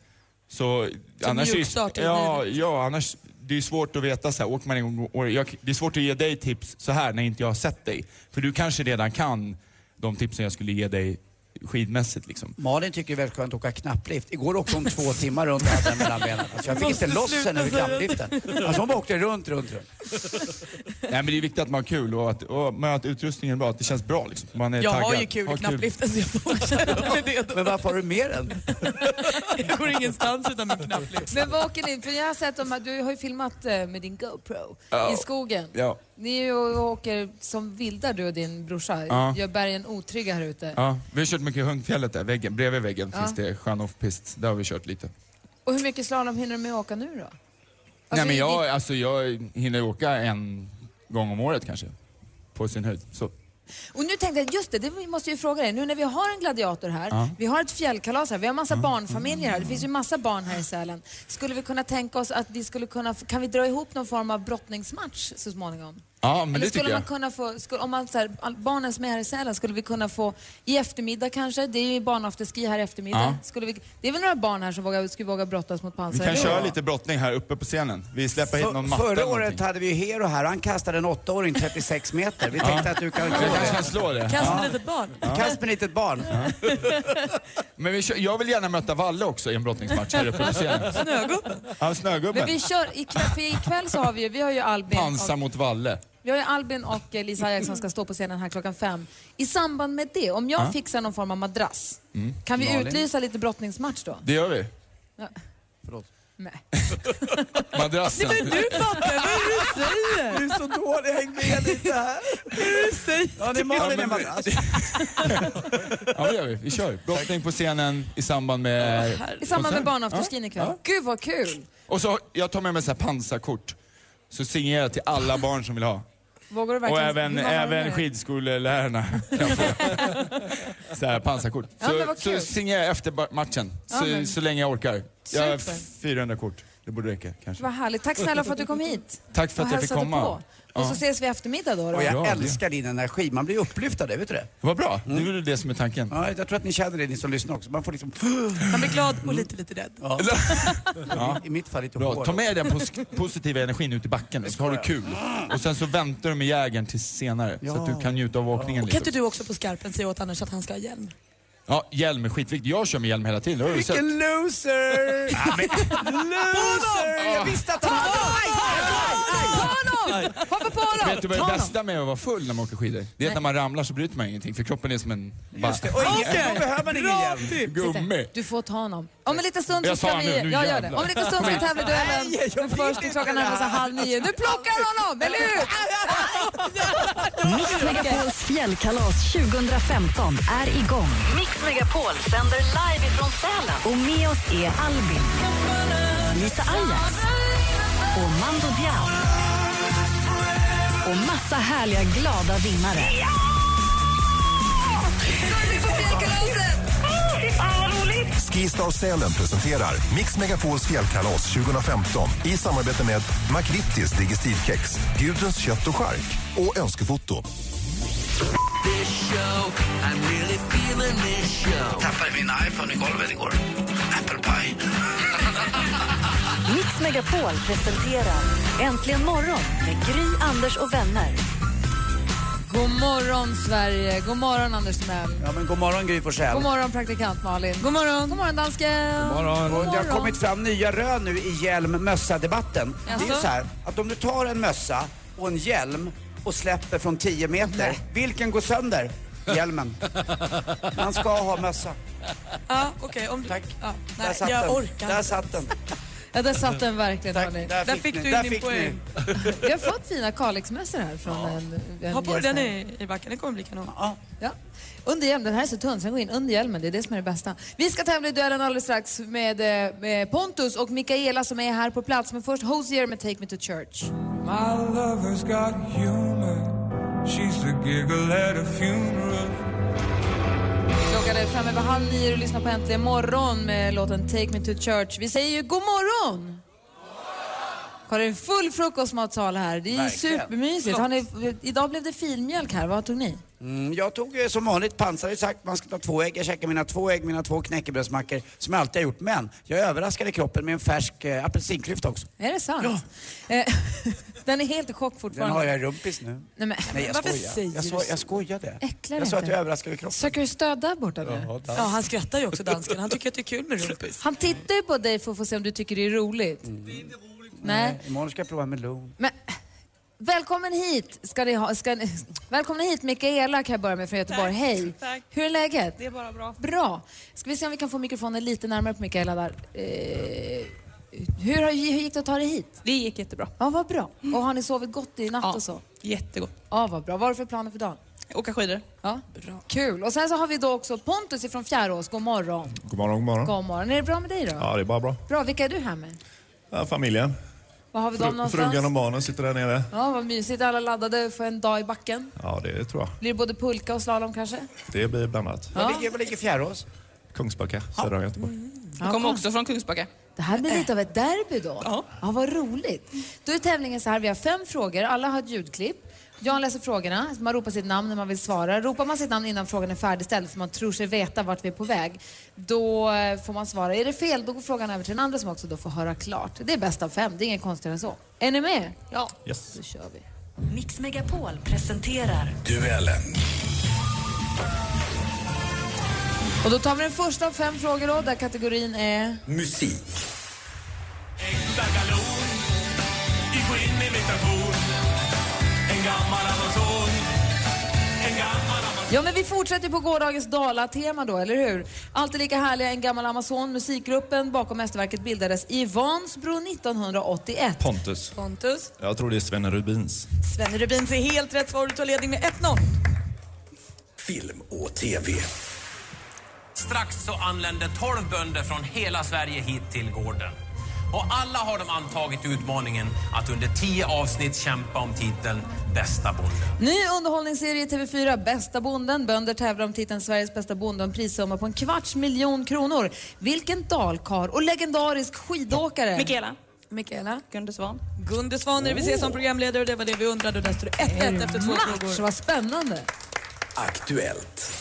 S5: Så annars
S6: mjukstart i
S5: är, ja,
S6: livet.
S5: ja, annars, det är svårt att veta så här, åker man en gång om året, jag, det är svårt att ge dig tips så här när inte jag har sett dig. För du kanske redan kan de tipsen jag skulle ge dig skidmässigt liksom.
S6: <laughs>
S7: Malin tycker det är väldigt skönt att åka knapplift. Igår åkte hon två timmar runt och hade den mellan benen. Alltså jag fick
S6: Måste
S7: inte loss
S6: sluta
S7: henne ur
S6: säga
S7: knappliften. Alltså hon bara åkte runt, runt, runt.
S5: Nej men det är viktigt att man har kul och att, och, men att utrustningen är bra, att det känns bra liksom. Man är
S6: Jag
S5: taggad.
S6: har ju kul i knappliften så jag fortsätter med det då.
S7: Men varför har du med den?
S6: Jag går ingenstans utan min knapplift.
S4: Men vad åker ni? För jag har sett dem, här- du har ju filmat eh, med din GoPro
S5: Ja.
S4: i skogen.
S5: Ja.
S4: Ni är ju och åker som vilda du och din brorsa.
S5: Ja.
S4: Gör bergen otrygga här ute.
S5: Ja, vi har kört mycket i Hundfjället där, väggen, bredvid väggen
S4: Ja.
S5: finns det skön offpist. Där har vi kört lite.
S4: Och hur mycket slalom hinner du med att åka nu då?
S5: Nej, men alltså,
S4: i-
S5: jag, alltså, jag hinner ju åka en gång om året kanske. På sin höjd. Så.
S4: Och nu tänkte jag, just det, det vi måste ju fråga dig. Nu när vi har en gladiator här, vi har ett fjällkalas här, vi har massa barnfamiljer här, det finns ju massa barn här i Sälen. Skulle vi kunna tänka oss att vi skulle kunna, kan vi dra ihop någon form av brottningsmatch så småningom?
S5: Ja, men
S4: Eller
S5: det tycker
S4: skulle man
S5: jag.
S4: kunna få, skulle, om man, så här, all- barnen som är här i Sälen, skulle vi kunna få i eftermiddag kanske, det är ju barnafterski här i eftermiddag.
S5: Ja.
S4: Skulle vi, det är väl några barn här som vågar, skulle våga brottas mot
S5: Vi
S4: pansar?
S5: kan
S4: eller?
S5: köra lite brottning här uppe på scenen. Vi släpper hit någon matta eller
S7: Förra året
S5: någonting.
S7: hade vi ju Hero här han kastade en åttaåring 36 meter. Vi tänkte att du kan...
S5: Jag kanske kan slå det.
S6: Kast med litet barn.
S7: Kast med litet barn.
S5: Men vi kör, jag vill gärna möta Valle också i en brottningsmatch här uppe
S4: <laughs>
S5: på scenen.
S6: Snögubben.
S5: Ja,
S4: Men
S5: snögubben.
S4: vi kör, ikväll, för ikväll så har vi ju, vi har ju Albin och
S5: Pansar mot Valle.
S4: Vi har ju Albin och eh, Lisa Ajax som ska stå på scenen här klockan fem. I samband med det, om jag fixar någon form av madrass,
S5: Mm.
S4: kan vi
S7: Malin?
S4: utlysa lite brottningsmatch då?
S5: Det gör vi.
S4: Ja.
S7: Förlåt.
S5: <laughs>
S4: Nej. <laughs>
S5: Madrassen.
S6: Du fattar vad du säger.
S7: Du är så dålig, häng med lite här. Ja, det är Malin en madrass.
S5: Ja, det gör vi. Vi kör. Brottning på scenen i samband med...
S4: I samband med barnafterskin ikväll. Gud vad kul!
S5: Och så, har- jag tar med mig så här pansarkort. Så signerar jag till alla barn som vill ha.
S4: Vågar du
S5: Och
S4: verkligen...
S5: även,
S4: Hur många har du
S5: även
S4: med?
S6: <laughs>
S5: skidskolelärarna kan få så här pansarkort.
S4: Ja, men vad
S5: så,
S4: kul.
S5: så signerar jag efter ba- matchen, så,
S4: men-
S5: så länge jag orkar. Jag har
S4: Super.
S5: 400 kort. Det borde räcka kanske.
S4: Vad härligt. Tack snälla för att du kom hit.
S5: Tack för
S4: Och
S5: att jag fick
S4: hälsade
S5: komma.
S4: På. Och så ses vi i eftermiddag då. då.
S7: Och
S5: Ja,
S7: jag
S5: det-
S7: älskar din energi. Man blir upplyft av det, vet du det?
S5: Vad bra, nu
S6: Mm.
S5: är det det som är tanken.
S7: Ja, jag tror att ni känner det, ni som lyssnar också. Man får liksom...
S6: Man blir glad och lite, lite rädd.
S7: I mitt fall lite
S5: Bra.
S7: hår.
S5: Ta med den pos- <laughs> positiva energin ut i backen och så har du kul. Och sen så väntar du med jägern till senare så att du kan njuta av åkningen
S6: Kan
S5: lite.
S6: inte du också på skarpen säga åt Anders att han ska ha hjälm?
S5: Ja, hjälm är skitviktigt. Jag kör med hjälm hela tiden, det har du sett.
S7: Vilken loser! Loser! Jag visste att han
S4: Ta honom! Hoppa på honom!
S5: Mm. Vet du vad
S4: Ta
S5: det
S4: honom!
S5: bästa med att vara full när man åker skidor? Det är att när man ramlar så bryter man ingenting för kroppen är som en bara,
S7: Just det, och ingen, då behöver man ingen
S5: <laughs>
S7: hjälm.
S5: gummi.
S4: Du får ta honom. Om en liten stund så
S5: Jag
S4: ska
S5: sa
S4: vi...
S5: nu, nu
S4: jag gör
S5: jävlar.
S4: det. Om en liten stund ska vi tävla i duellen.
S7: Nej, jag
S4: Men först är klockan närmar sig halv nio. Du plockar honom, eller hur?
S3: Mix Megapols fjällkalas 2015 är igång. Mix Megapol sänder live ifrån Sälen. Och med oss är Albin, Lisa Ajax och Mando Diao. Och massa härliga, glada vinnare.
S8: Skistar Sälen presenterar Mix Megapols fjällkalas 2015 i samarbete med McVittys Digestivkex, Gudruns kött och skark och Önskefoto.
S1: Tappade min iPhone i golvet igår. Apple pie.
S3: Mix Megapol presenterar Äntligen morgon med Gry, Anders och vänner.
S4: God morgon, Sverige. God morgon, Anders Timell.
S7: Ja, men god morgon Gry Forssell.
S4: God morgon, praktikant Malin. God morgon. God morgon, dansken. God morgon.
S7: Och det har kommit fram nya rön nu i hjälm-mössa-debatten. Det är ju
S4: Jaså?
S7: så här att om du tar en mössa och en hjälm och släpper från 10 meter, vilken går sönder? Hjälmen. Man ska ha mössa.
S6: Ja, okej. om Tack. Ja,
S7: Där
S6: nej,
S7: satt
S6: jag
S7: den.
S6: orkar
S7: Där
S6: inte.
S7: satt
S6: <laughs>
S7: den.
S4: Ja, där satt den verkligen, Malin.
S6: Där fick du
S7: Där
S6: din
S7: fick ni.
S6: poäng.
S4: Vi har fått fina Kalixmössor här från en, en
S6: Ha på dig
S4: gäst
S6: den
S4: här.
S6: i, i backen, det kommer bli kanon.
S4: Ja. Under hjälmen, den här är så tunn, sen går in under hjälmen. Det är det som är det bästa. Vi ska tävla i duellen alldeles strax med, eh, med Pontus och Mikaela som är här på plats. Men först Hosier med Take Me To Church. Klockan är fem över halv nio och du lyssnar på Äntligen morgon med låten Take Me To Church. Vi säger ju god morgon! Har du en full frukostmatsal här? Det är ju
S7: Verkligen.
S4: supermysigt. Har ni, idag blev det filmjölk här. Vad tog ni?
S7: Mm, jag tog eh, som vanligt, pansar har ju sagt man ska ta två ägg. Jag käkade mina två ägg, mina två knäckebrödsmackor som jag alltid har gjort. Men jag överraskade kroppen med en färsk eh, apelsinklyfta också.
S4: Är det sant? Eh, <laughs> Den är helt i chock
S7: Den
S4: fortfarande.
S7: har jag i rumpis nu.
S4: Nej, men,
S7: Nej, jag
S6: Varför
S7: skojar.
S6: säger
S7: Jag,
S6: du
S7: så,
S6: så?
S7: jag skojade.
S4: Äcklar
S7: jag sa att
S4: inte.
S7: jag överraskade kroppen.
S4: Söker du stöd där borta nu?
S6: Ja, han skrattar ju också dansken. Han tycker att det är kul med rumpis.
S4: Han tittar ju på dig för att få se om du tycker det är roligt. Nej.
S7: Eh, Imorgon ska jag prova melon.
S4: Men, välkommen hit ska ni ha. Ska ni, välkomna hit Mikaela kan jag börja med från Göteborg. Hej!
S2: tack.
S4: Hur är läget?
S2: är bara bra.
S4: Bra. Ska vi se om vi kan få mikrofonen lite närmare på Mikaela där. Eh, hur, har, hur gick det att ta dig hit?
S2: Det gick jättebra.
S4: Ja, vad bra.
S6: Mm.
S4: Och har ni sovit gott i natt och så?
S2: Jättegott.
S4: Ja, vad bra. Vad har du för planer för dagen?
S2: Åka skidor.
S4: Ja. Bra. Kul. Och sen så har vi då också Pontus ifrån Fjärås. God morgon.
S9: God morgon, god morgon.
S4: God morgon. Är det bra med dig då?
S9: Ja, det är bara bra.
S4: Bra. Vilka är du här med?
S9: Ja, familjen.
S4: Var har vi dem
S10: Fru,
S4: någonstans?
S10: frugan och barnen sitter där nere.
S4: Ja, vad mysigt. Alla laddade för en dag i backen.
S10: Ja, det tror jag.
S4: Blir det både pulka och slalom kanske?
S10: Det blir blandat.
S4: Ja.
S7: Var ligger Fjärås?
S10: Kungsbacka, södra Göteborg.
S6: Mm.
S4: Ja,
S2: kommer
S4: kom.
S2: också från Kungsbacka.
S4: Det här blir lite av ett derby då. Ja. vad roligt. Då är tävlingen så här, vi har fem frågor, alla har ett ljudklipp. Jan läser frågorna, man ropar sitt namn när man vill svara. Ropar man sitt namn innan frågan är färdigställd, för man tror sig veta vart vi är på väg, då eh, får man svara. Är det fel, då går frågan över till den andra som också då får höra klart. Det är bäst av fem, det är inget konstigare än så. Är ni med? Ja.
S10: Yes.
S4: Då kör vi.
S3: Mix Megapol presenterar
S8: Duellen.
S4: Och då tar vi den första av fem frågor då, där kategorin är...
S8: Musik.
S1: I skinnimitation. En gammal amazon. En gammal amazon.
S4: Ja, men vi fortsätter på gårdagens Dala-tema då, eller hur? Alltid lika härliga, en gammal Amazon. Musikgruppen bakom mästerverket bildades i Vansbro 1981.
S10: Pontus.
S6: Pontus.
S10: Jag tror det är Svenne Rubins.
S6: Svenne Rubin ser helt rätt svar. Du tar ledning med 1-0.
S8: Film och TV.
S1: Strax så anländer 12 bönder från hela Sverige hit till gården. Och alla har de antagit utmaningen att under 10 avsnitt kämpa om titeln Bästa bonden.
S4: Ny underhållningsserie i TV4, Bästa bonden. Bönder tävlar om titeln Sveriges bästa bonde och en prissumma på en kvarts miljon kronor. Vilken dalkar och legendarisk skidåkare?
S6: Mikaela. Mikaela. Gunde Svan. Gunde Svan är det vi
S10: Oh.
S6: ser som programledare och det var det vi undrade och där står det 1-1 efter två
S4: Match,
S6: frågor.
S4: vad spännande.
S11: Aktuellt.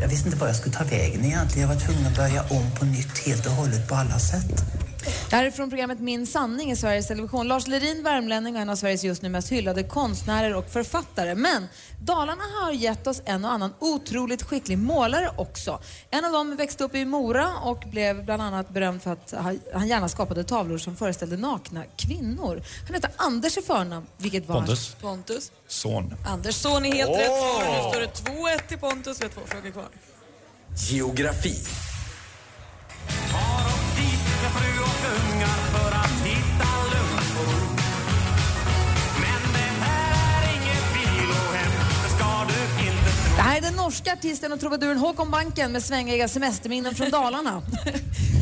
S11: Jag visste inte var jag skulle ta vägen egentligen. Jag var tvungen att börja om på nytt helt och hållet på alla sätt.
S4: Det här är från programmet Min sanning i Sveriges Television. Lars Lerin, värmlänning och en av Sveriges just nu mest hyllade konstnärer och författare. Men Dalarna har gett oss en och annan otroligt skicklig målare också. En av dem växte upp i Mora och blev bland annat berömd för att ha- han gärna skapade tavlor som föreställde nakna kvinnor. Han heter Anders i förnamn, vilket var...
S10: Pontus.
S6: Pontus.
S10: Son.
S6: Anders son är helt
S10: Åh!
S6: rätt svar. Nu står det 2-1 till Pontus. Vi har två frågor kvar.
S8: Geografi.
S1: Med fru och ungar för att hitta luckor. Men det här är inget vilohem, det ska du inte tro.
S4: Det här är den norska artisten och trubaduren Håkon Banken med svängiga semesterminnen från
S6: <laughs>
S4: Dalarna.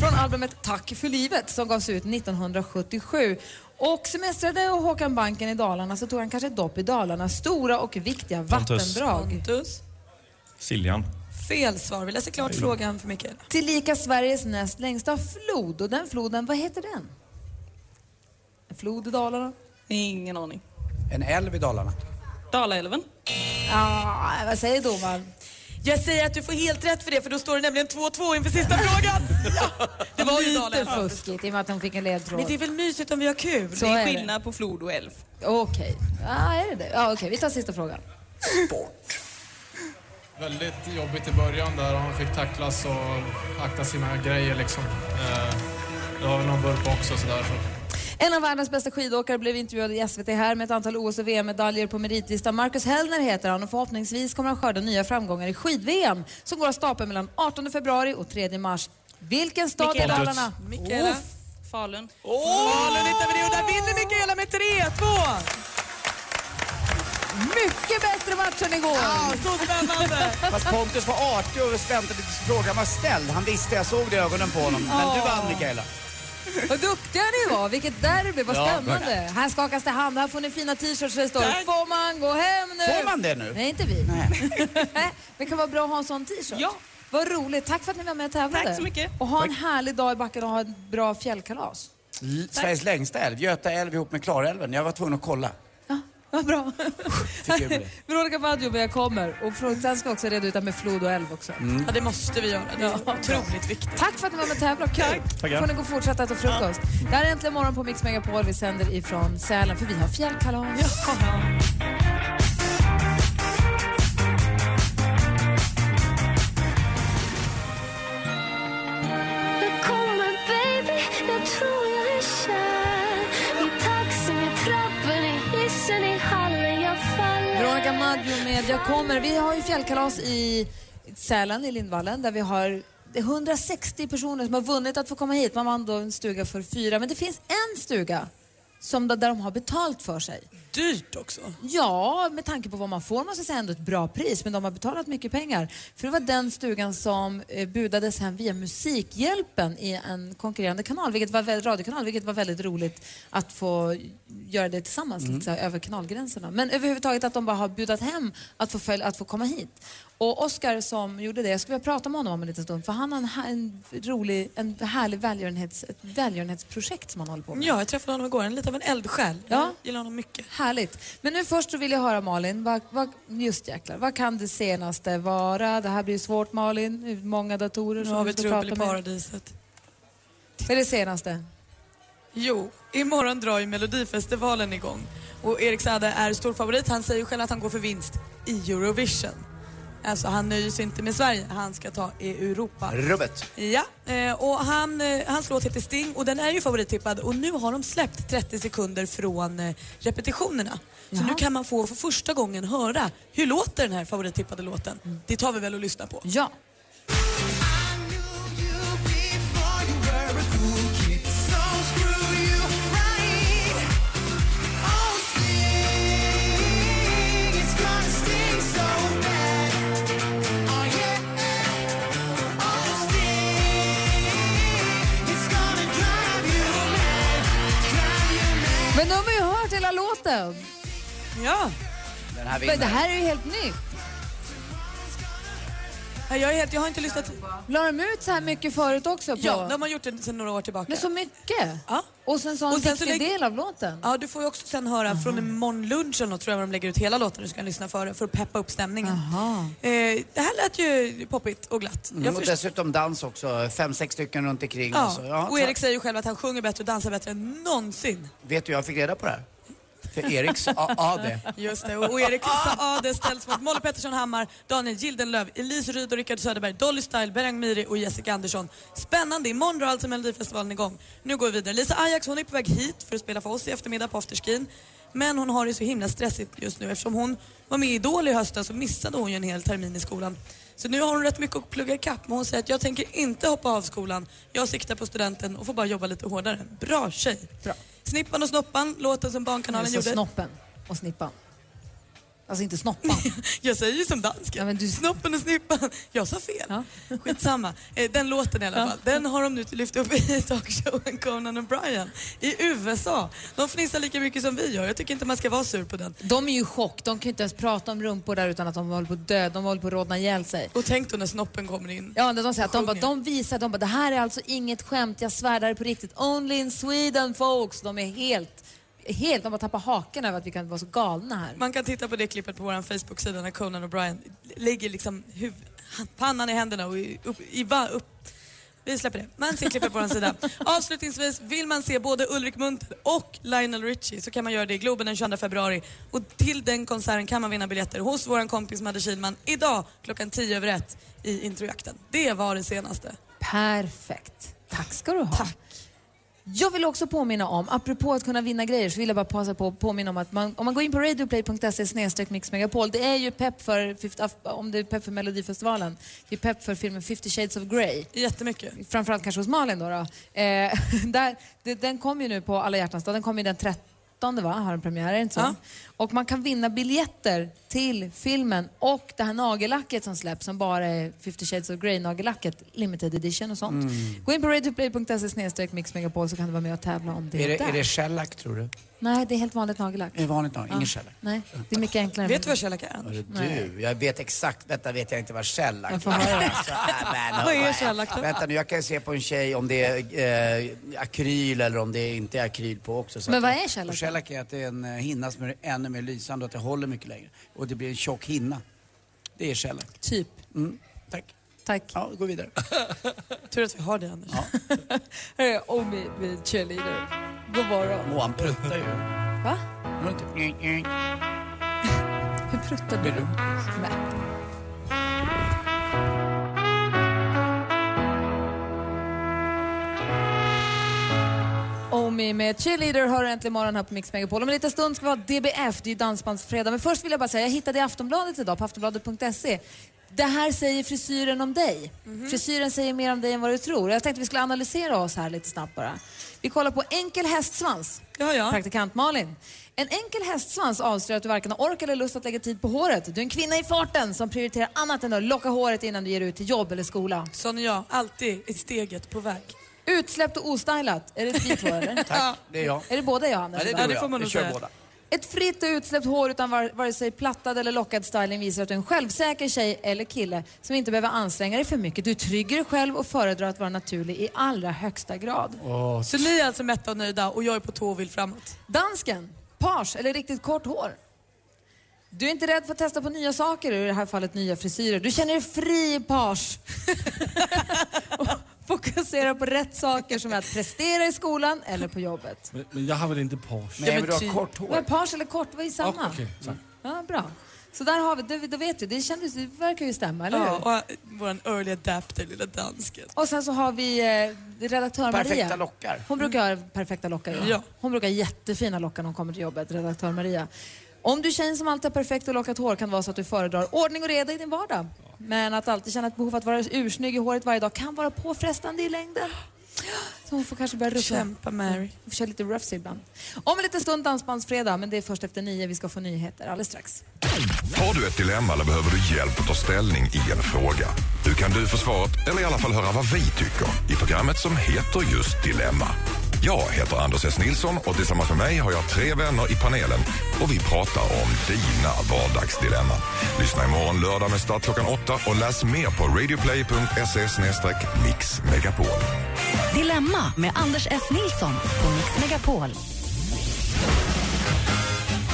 S4: från albumet Tack för livet som gavs ut 1977. Och semestrade Håkan Banken i Dalarna så tog han kanske ett dopp i Dalarnas stora och viktiga vattendrag.
S6: Pontus.
S10: Siljan.
S6: Fel svar. Vi läser klart
S10: Nej.
S6: frågan för Mikaela.
S4: Tillika Sveriges näst längsta flod och den floden, vad heter den? En flod i Dalarna?
S2: Ingen aning.
S7: En älv i Dalarna.
S2: Dalaälven.
S4: Ja, vad säger domaren?
S6: Jag säger att du får helt rätt för det, för då står det nämligen 2-2 inför sista frågan. <laughs> Ja, det var ju
S4: Lite
S6: Dalaälven.
S4: fuskigt i och med att hon fick en ledtråd.
S6: Men det är väl mysigt om vi har kul?
S4: Så är det.
S6: på flod och älv.
S4: Okej, ah, är det det? Ja, okej, vi tar sista frågan.
S12: Väldigt jobbigt i början där han fick tacklas och akta sina grejer liksom. Eh, Det var väl någon burk också sådär. Så.
S4: En av världens bästa skidåkare blev intervjuad i SVT här med ett antal OS och VM-medaljer på meritlistan. Marcus Hellner heter han och förhoppningsvis kommer han skörda nya framgångar i skid-VM som går av stapeln mellan 18 februari och 3 mars. Vilken stad i
S2: Mikaela.
S4: Dalarna?
S2: Mikaela.
S4: Uff.
S2: Falun.
S6: Falun hittar vi det och där vinner Mikaela med 3-2.
S4: Mycket bättre match än igår.
S6: Ja, så spännande.
S7: Fast Pontus var artig och väntade tills frågan var ställd. Han visste, jag såg det i ögonen på honom. Men du vann Mikaela.
S4: Vad duktiga ni var! Vilket derby, vad
S7: Ja,
S4: spännande!
S7: verkligen.
S4: här skakas det hand, här får ni fina t-shirts där det står Får man gå hem nu?
S7: Får man det nu?
S4: Nej, inte vi. Nej. det kan vara bra att ha en sån t-shirt. Ja. Vad roligt, tack för att ni var med och tävlade.
S7: Tack så mycket.
S4: Och ha en
S7: Tack.
S4: härlig dag i backen och ha ett bra fjällkalas.
S7: L- Sveriges längsta älv, Göta älv ihop med Klarälven. Jag var tvungen att kolla.
S4: Vad bra.
S7: Fick ur det.
S4: <laughs> Veronica Maggio, men jag kommer. Och från- sen ska jag också reda ut det här med flod och älv också.
S7: Mm.
S6: Ja, det måste vi göra. Det är otroligt viktigt.
S4: Tack för att ni var med och tävlade. Kul!
S6: Tackar.
S4: får ni gå och fortsätta äta frukost. Det här är Äntligen morgon på Mix Megapol. Vi sänder ifrån Sälen, för vi har fjällkalas.
S1: Välkommen baby, jag tror jag är kär I taxin, i trappen, i hissen, i hallen jag faller
S4: Veronica Maggio med Jag kommer. Vi har ju fjällkalas i Sälen, i Lindvallen, där vi har det är 160 personer som har vunnit att få komma hit. Man vann då en stuga för fyra, men det finns en stuga som där de har betalt för sig.
S6: Dyrt också.
S4: Ja, med tanke på vad man får måste jag säga ändå ett bra pris, men de har betalat mycket pengar. För det var den stugan som eh, budades hem via Musikhjälpen i en konkurrerande kanal, vilket var, vä- radiokanal, vilket var väldigt roligt att få göra det tillsammans, lite så här, över kanalgränserna. Men överhuvudtaget att de bara har budat hem att få, följ, att få komma hit. Och Oscar som gjorde det, jag skulle vilja prata med honom om en liten stund, för han har en, ha- en rolig, en härlig välgörenhets, ett välgörenhetsprojekt som han håller på med.
S6: Ja, jag träffade honom igår. En lite av en eldsjäl.
S4: Ja.
S6: Gillar honom mycket.
S4: Härligt. Men nu först så vill jag höra Malin, vad, vad, just jäklar, vad kan det senaste vara? Det här blir svårt Malin, Det är många datorer
S6: Nu
S4: som
S6: har
S4: vi
S6: vi
S4: ska
S6: trubbel i
S4: prata med.
S6: paradiset.
S4: Vad är det senaste?
S6: Jo, imorgon drar ju Melodifestivalen igång. Och Erik Saade är stor favorit. Han säger själv att han går för vinst i Eurovision. Alltså han nöjer sig inte med Sverige, han ska ta i Europa.
S7: Rubbet.
S6: Ja, eh, och han, eh, hans låt heter Sting och den är ju favorittippad och nu har de släppt 30 sekunder från eh, repetitionerna. Så nu kan man få för första gången höra hur låter den här favorittippade låten. Det tar vi väl och lyssnar på.
S4: Ja. Men de har ju hört hela låten.
S6: Ja.
S7: Den här
S4: Men det
S7: vinner.
S4: här är ju helt nytt.
S6: Jag, är helt, jag har inte lyssnat.
S4: La de ut så här mycket förut också? På?
S6: Ja, de har gjort det sedan några år tillbaka.
S4: Men så mycket?
S6: Ja.
S4: Och sen så har de
S6: Och sen så
S4: viktig
S6: lägg-
S4: del av låten?
S6: Ja, du får ju också sen höra från imorgon lunch eller något, tror jag de lägger ut hela låten du ska lyssna för, för att peppa upp stämningen. Eh, det här lät ju poppigt och glatt.
S7: Mm,
S6: Jag
S7: och
S6: förstår-
S7: dessutom dans också, fem, sex stycken runt omkring.
S6: Ja.
S7: Och så, alltså, ja,
S6: och
S7: så-
S6: Erik säger ju själv att han sjunger bättre och dansar bättre än någonsin.
S7: Vet du, jag fick reda på det här. För Eriks
S4: <laughs>
S7: A- AD.
S6: Just det, och och Erik Saade Ah, ställs mot Molly Pettersson Hammar, Daniel Gildenlöv, Elise Ryd och Rickard Söderberg, Dolly Style, Berang Miri och Jessica Andersson. Spännande, imorgon drar alltså Melodifestivalen igång. Nu går vi vidare. Lisa Ajax hon är på väg hit för att spela för oss i eftermiddag på afterskin. Men hon har det så himla stressigt just nu eftersom hon var med i Idol i höstas så missade hon ju en hel termin i skolan. Så nu har hon rätt mycket att plugga ikapp men hon säger att jag tänker inte hoppa av skolan. Jag siktar på studenten och får bara jobba lite hårdare. Bra tjej! Snippan och Snoppan, låten som Barnkanalen
S4: Alltså
S6: gjorde.
S4: snoppen och snippan. Alltså inte snoppan.
S6: <laughs> Jag säger ju som dansken. Snoppen och snippan. Jag sa fel. Skitsamma. Eh, Den låten i alla fall, den har de nu lyft upp i <laughs> talkshowen Conan O'Brien i USA. De fnissar lika mycket som vi gör. Jag tycker inte man ska vara sur på den.
S4: <laughs> De är ju i chock. De kan ju inte ens prata om rumpor där utan att de håller på att dö. De håller på att rodna ihjäl sig.
S6: Och tänk då när snoppen kommer in.
S4: Ja, när de säger att de, bara, de visar, de bara, det här är alltså inget skämt, jag svär det här är på riktigt. Only in Sweden folks. De är helt, helt, de bara tappar haken över att vi kan vara så galna här.
S6: Man kan titta på det klippet på vår Facebook-sida när Conan O'Brien lägger liksom huv- pannan i händerna och i- upp, i va, upp. Vi släpper det. Man ser klippet på vår sida. Avslutningsvis, vill man se både Ulrik Munther och Lionel Richie så kan man göra det i Globen den 22 februari. Och till den konserten kan man vinna biljetter hos vår kompis Madde Kihlman idag klockan 10 över 1 i introjakten. Det var det senaste.
S4: Perfekt. Tack ska du ha. Tack. Jag vill också påminna om, apropå att kunna vinna grejer, så vill jag bara passa på att påminna om att man, om man går in på radioplay.se snedstreck mixmegapol, det är ju pepp för, 50 om det är pepp för Melodifestivalen, det är pepp för filmen 50 shades of Grey.
S6: Jättemycket.
S4: Framförallt kanske hos Malin då. då. Eh, <laughs> där, det, den kom ju nu på Alla hjärtans dag, den kom ju den 13 va, har den premiär, är det inte så? Och man kan vinna biljetter till filmen och det här nagellacket som släpps som bara är 50 shades of Grey nagellacket, limited edition och sånt.
S7: Mm.
S4: Gå in på radioplay.se snedstreck mixmegapol så kan du vara med och tävla om det,
S7: Är det,
S4: där.
S7: är det shellac, tror du?
S4: Nej, det är helt vanligt nagellack.
S7: Är det vanligt nagellack? Ingen shellac?
S4: Nej, det är mycket enklare.
S6: Vet du vad shellac är?
S7: Hörru
S4: Nej.
S7: Du, jag vet exakt. Vänta, vet jag inte vad shellac
S4: Jag
S7: är.
S4: får höra.
S7: Alltså,
S4: <laughs>
S7: nej, men,
S4: Vad är
S7: nej.
S4: shellac då?
S7: Vänta nu, jag kan ju se på en tjej om det är eh, akryl eller om det inte är akryl på också.
S4: Men
S7: att-
S4: vad är shellac
S7: Och Shellac är att det är en eh, hinna som är ännu mer lysande och att det håller mycket längre. Och det blir en tjock hinna. Det är shellac.
S4: Typ.
S7: Mm, tack.
S4: Tack.
S7: Ja, gå vidare.
S6: Tur att vi har det Anders. <laughs>
S4: Ja. och med, med cheerleader. God morgon.
S7: Moan pruttar ju.
S4: Va?
S7: Hon inte...
S4: Hur pruttar du? Nej. Omi med Cheerleader hör äntligen morgon här på Mix Megapol. Om en liten stund ska vi ha DBF, det är ju Dansbandsfredag. Men först vill jag bara säga, jag hittade i Aftonbladet idag, på aftonbladet.se, Det här säger frisyren om dig. Frisyren säger mer om dig än vad du tror. Jag tänkte vi skulle analysera oss här lite snabbt bara. Vi kollar på enkel hästsvans.
S6: Ja, ja.
S4: Praktikant Malin. En enkel hästsvans avslöjar att du varken har ork eller lust att lägga tid på håret. Du är en kvinna i farten som prioriterar annat än att locka håret innan du ger ut till jobb eller skola.
S6: Sån är jag, alltid i steget på väg.
S4: Utsläppt och ostylat. Är det ditt hår eller?
S7: <laughs> Tack, det är jag.
S4: Är det båda jag, Anders?
S7: Ja, det är du och jag. Vi kör båda.
S4: Ett fritt och utsläppt hår utan var, vare sig plattad eller lockad styling visar att du är en självsäker tjej eller kille som inte behöver anstränga dig för mycket. Du är trygg i dig själv och föredrar att vara naturlig i allra högsta grad.
S6: Så ni är alltså mätta och nöjda och jag är på tå och vill framåt.
S4: Dansken, page eller riktigt kort hår. Du är inte rädd för att testa på nya saker, i det här fallet nya frisyrer. Du känner dig fri i <laughs> page. och fokuserar på rätt saker som är att prestera i skolan eller på jobbet.
S13: Men, men jag har väl inte Porsche?
S4: Nej, Ja, men men du har ty- kort hår. Men page eller kort, vad är samma?
S13: Ja, okej, så.
S4: Ja, bra. Så där har vi, det, då vet vi, det, kändes, det verkar ju stämma, eller hur?
S6: Ja, och vår early adapter, lilla dansken.
S4: Och sen så har vi eh, redaktör
S6: Perfekta
S4: Maria.
S6: lockar.
S4: Hon brukar ha perfekta lockar. Ja.
S6: Ja.
S4: Hon brukar ha jättefina lockar när hon kommer till jobbet, redaktör Maria. Om du är tjejen som alltid har perfekt och lockat hår kan det vara så att du föredrar ordning och reda i din vardag. Men att alltid känna ett behov att vara ursnygg i håret varje dag kan vara påfrestande i längden. Så hon får kanske börja rucka.
S6: Kämpa, Mary.
S4: Hon får köra lite roughs ibland. Om en liten stund dansbandsfredag, men det är först efter nio vi ska få nyheter alldeles strax.
S10: Har du ett dilemma eller behöver du hjälp att ta ställning i en fråga? Nu kan du få svaret, eller i alla fall höra vad vi tycker i programmet som heter just Dilemma. Jag heter Anders S. Nilsson och tillsammans med mig har jag tre vänner i panelen och vi pratar om dina vardagsdilemman. Lyssna imorgon lördag med start klockan åtta och läs mer på radioplay.se mixmegapol.
S3: Dilemma med Anders S. Nilsson på Mix Megapol.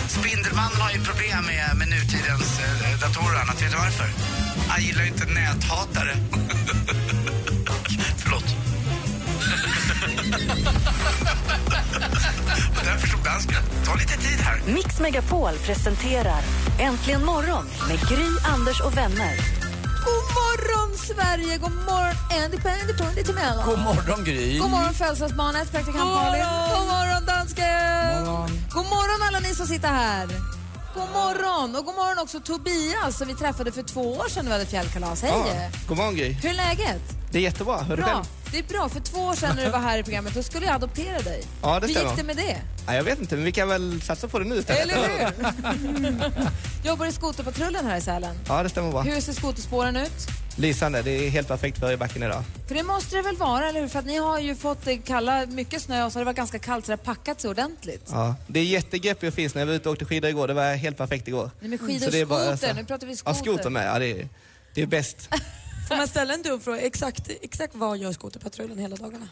S7: Spindelmannen har ju problem med, med nutidens eh, datorer och annat. Vet du varför? Han gillar ju
S5: <laughs>
S7: inte näthatare. Förlåt. och därför stod dansken. Ta lite tid här.
S3: Mix Megapol presenterar Äntligen morgon med Gry, Anders och vänner.
S4: God morgon Sverige, god morgon Andy Pandy Pandy till Mello.
S7: God morgon, Gry.
S4: God morgon födelsedagsbarnet, praktikant Malin. God morgon dansken. God morgon alla ni som sitter här. God morgon och god morgon också Tobias som vi träffade för två år sedan när vi hade fjällkalas. Hej!
S5: Ja, god morgon Gry.
S4: Hur är läget?
S5: Det är jättebra, hör du
S4: Bra.
S5: själv?
S4: Det är bra, för två år sedan när du var här i programmet då skulle jag adoptera dig.
S5: Ja, det
S4: Hur
S5: stämmer.
S4: gick det med det?
S5: Nej, jag vet inte, men vi kan väl satsa på det nu istället.
S4: Eller hur? <laughs> Jobbar i skoterpatrullen här i Sälen.
S5: Ja, det stämmer bra.
S4: Hur ser skoterspåren ut?
S5: Lysande, det är helt perfekt för i backen idag.
S4: För det måste det väl vara, eller hur? För att ni har ju fått eh, kalla, mycket snö och så har det varit ganska kallt så det har packat sig ordentligt.
S5: Ja, det är jättegreppigt och fint. När jag var ute och åkte skidor igår, det var helt perfekt igår.
S4: Nej, men skidor
S5: Så det är
S4: och
S5: bara att
S4: skoter,
S5: ösa.
S4: nu pratar vi
S5: Ja,
S4: skoter.
S5: skoter med. Ja, det är, det är bäst.
S6: Får man ställa en dum fråga? Exakt, exakt vad gör skoterpatrullen hela dagarna?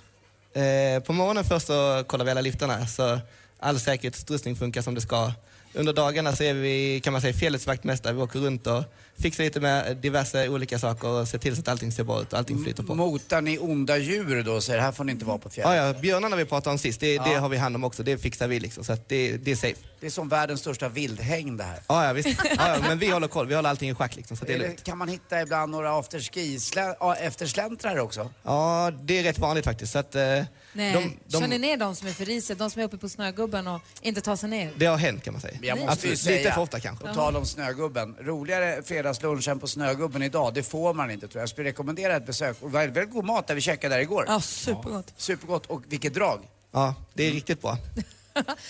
S5: Eh, på morgonen först så kollar vi alla liftarna så all säkerhetsutrustning funkar som det ska. Under dagarna så är vi, kan man säga, fjällets vaktmästare. Vi åker runt och fixar lite med diverse olika saker och ser till så att allting ser bra ut och
S4: Mm.
S5: allting flyter på. Ah,
S7: Motar ni onda djur då och säger det här får ni inte vara på fjärran?
S5: Ja, ja, björnarna vi pratade om sist, det,
S7: Ja.
S5: det har vi hand om också. Det fixar vi liksom, så att det, det är safe.
S7: Det är som världens största vildhägn det här.
S5: Ja, ja visst. Ja, ja, men vi håller koll. Vi håller allting i schack liksom, så att det är
S7: Eller
S5: lugnt.
S7: kan man hitta ibland några afterski slä- ja, eftersläntrare också?
S5: Ja, det är rätt vanligt faktiskt. Så att, eh,
S4: Nej,
S5: de,
S4: kör ni
S5: de,
S4: ner de som är för risiga, de som är uppe på snögubben och inte tar sig ner?
S5: det har hänt kan man säga.
S7: Jag måste ju
S5: Absolut.
S7: säga,
S5: Lite för ofta kanske.
S7: på tal om Snögubben, roligare fredagslunch än på Snögubben idag, det får man inte tror jag. Jag skulle rekommendera ett besök. Och det var väldigt god mat där vi käkade där igår.
S6: Ja, supergott.
S7: Supergott och vilket drag.
S5: Ja, det är riktigt bra.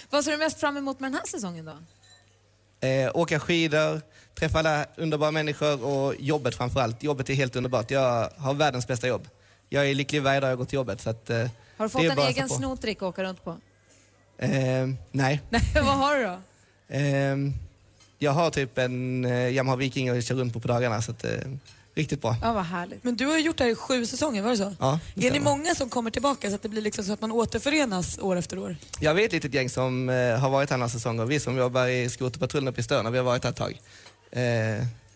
S4: Vad ser du mest fram emot med den här säsongen då?
S5: Eh, åka skidor, träffa alla underbara människor och jobbet framförallt. Jobbet är helt underbart. Jag har världens bästa jobb. Jag är lycklig varje dag jag går till jobbet. Så att, eh,
S4: Har du fått
S5: det är
S4: en
S5: bara att
S4: egen
S5: satsa på.
S4: snodrick att åka runt på? <laughs>
S5: Eh, nej.
S4: Nej, vad har du då?
S5: Eh, jag har typ en eh, Yamaha Viking jag kör runt på på dagarna. Så att, eh, riktigt bra.
S4: Ja, vad härligt.
S6: Men du har ju gjort det här i sju säsonger, var det så?
S5: Ja, det
S6: Är ni
S5: stämmer.
S6: många som kommer tillbaka så att det blir liksom så att man återförenas år efter år?
S5: Jag vet ett litet gäng som eh, har varit här några säsonger. Vi som jobbar i skoterpatrullen uppe i Störna, vi har varit här ett tag. Eh,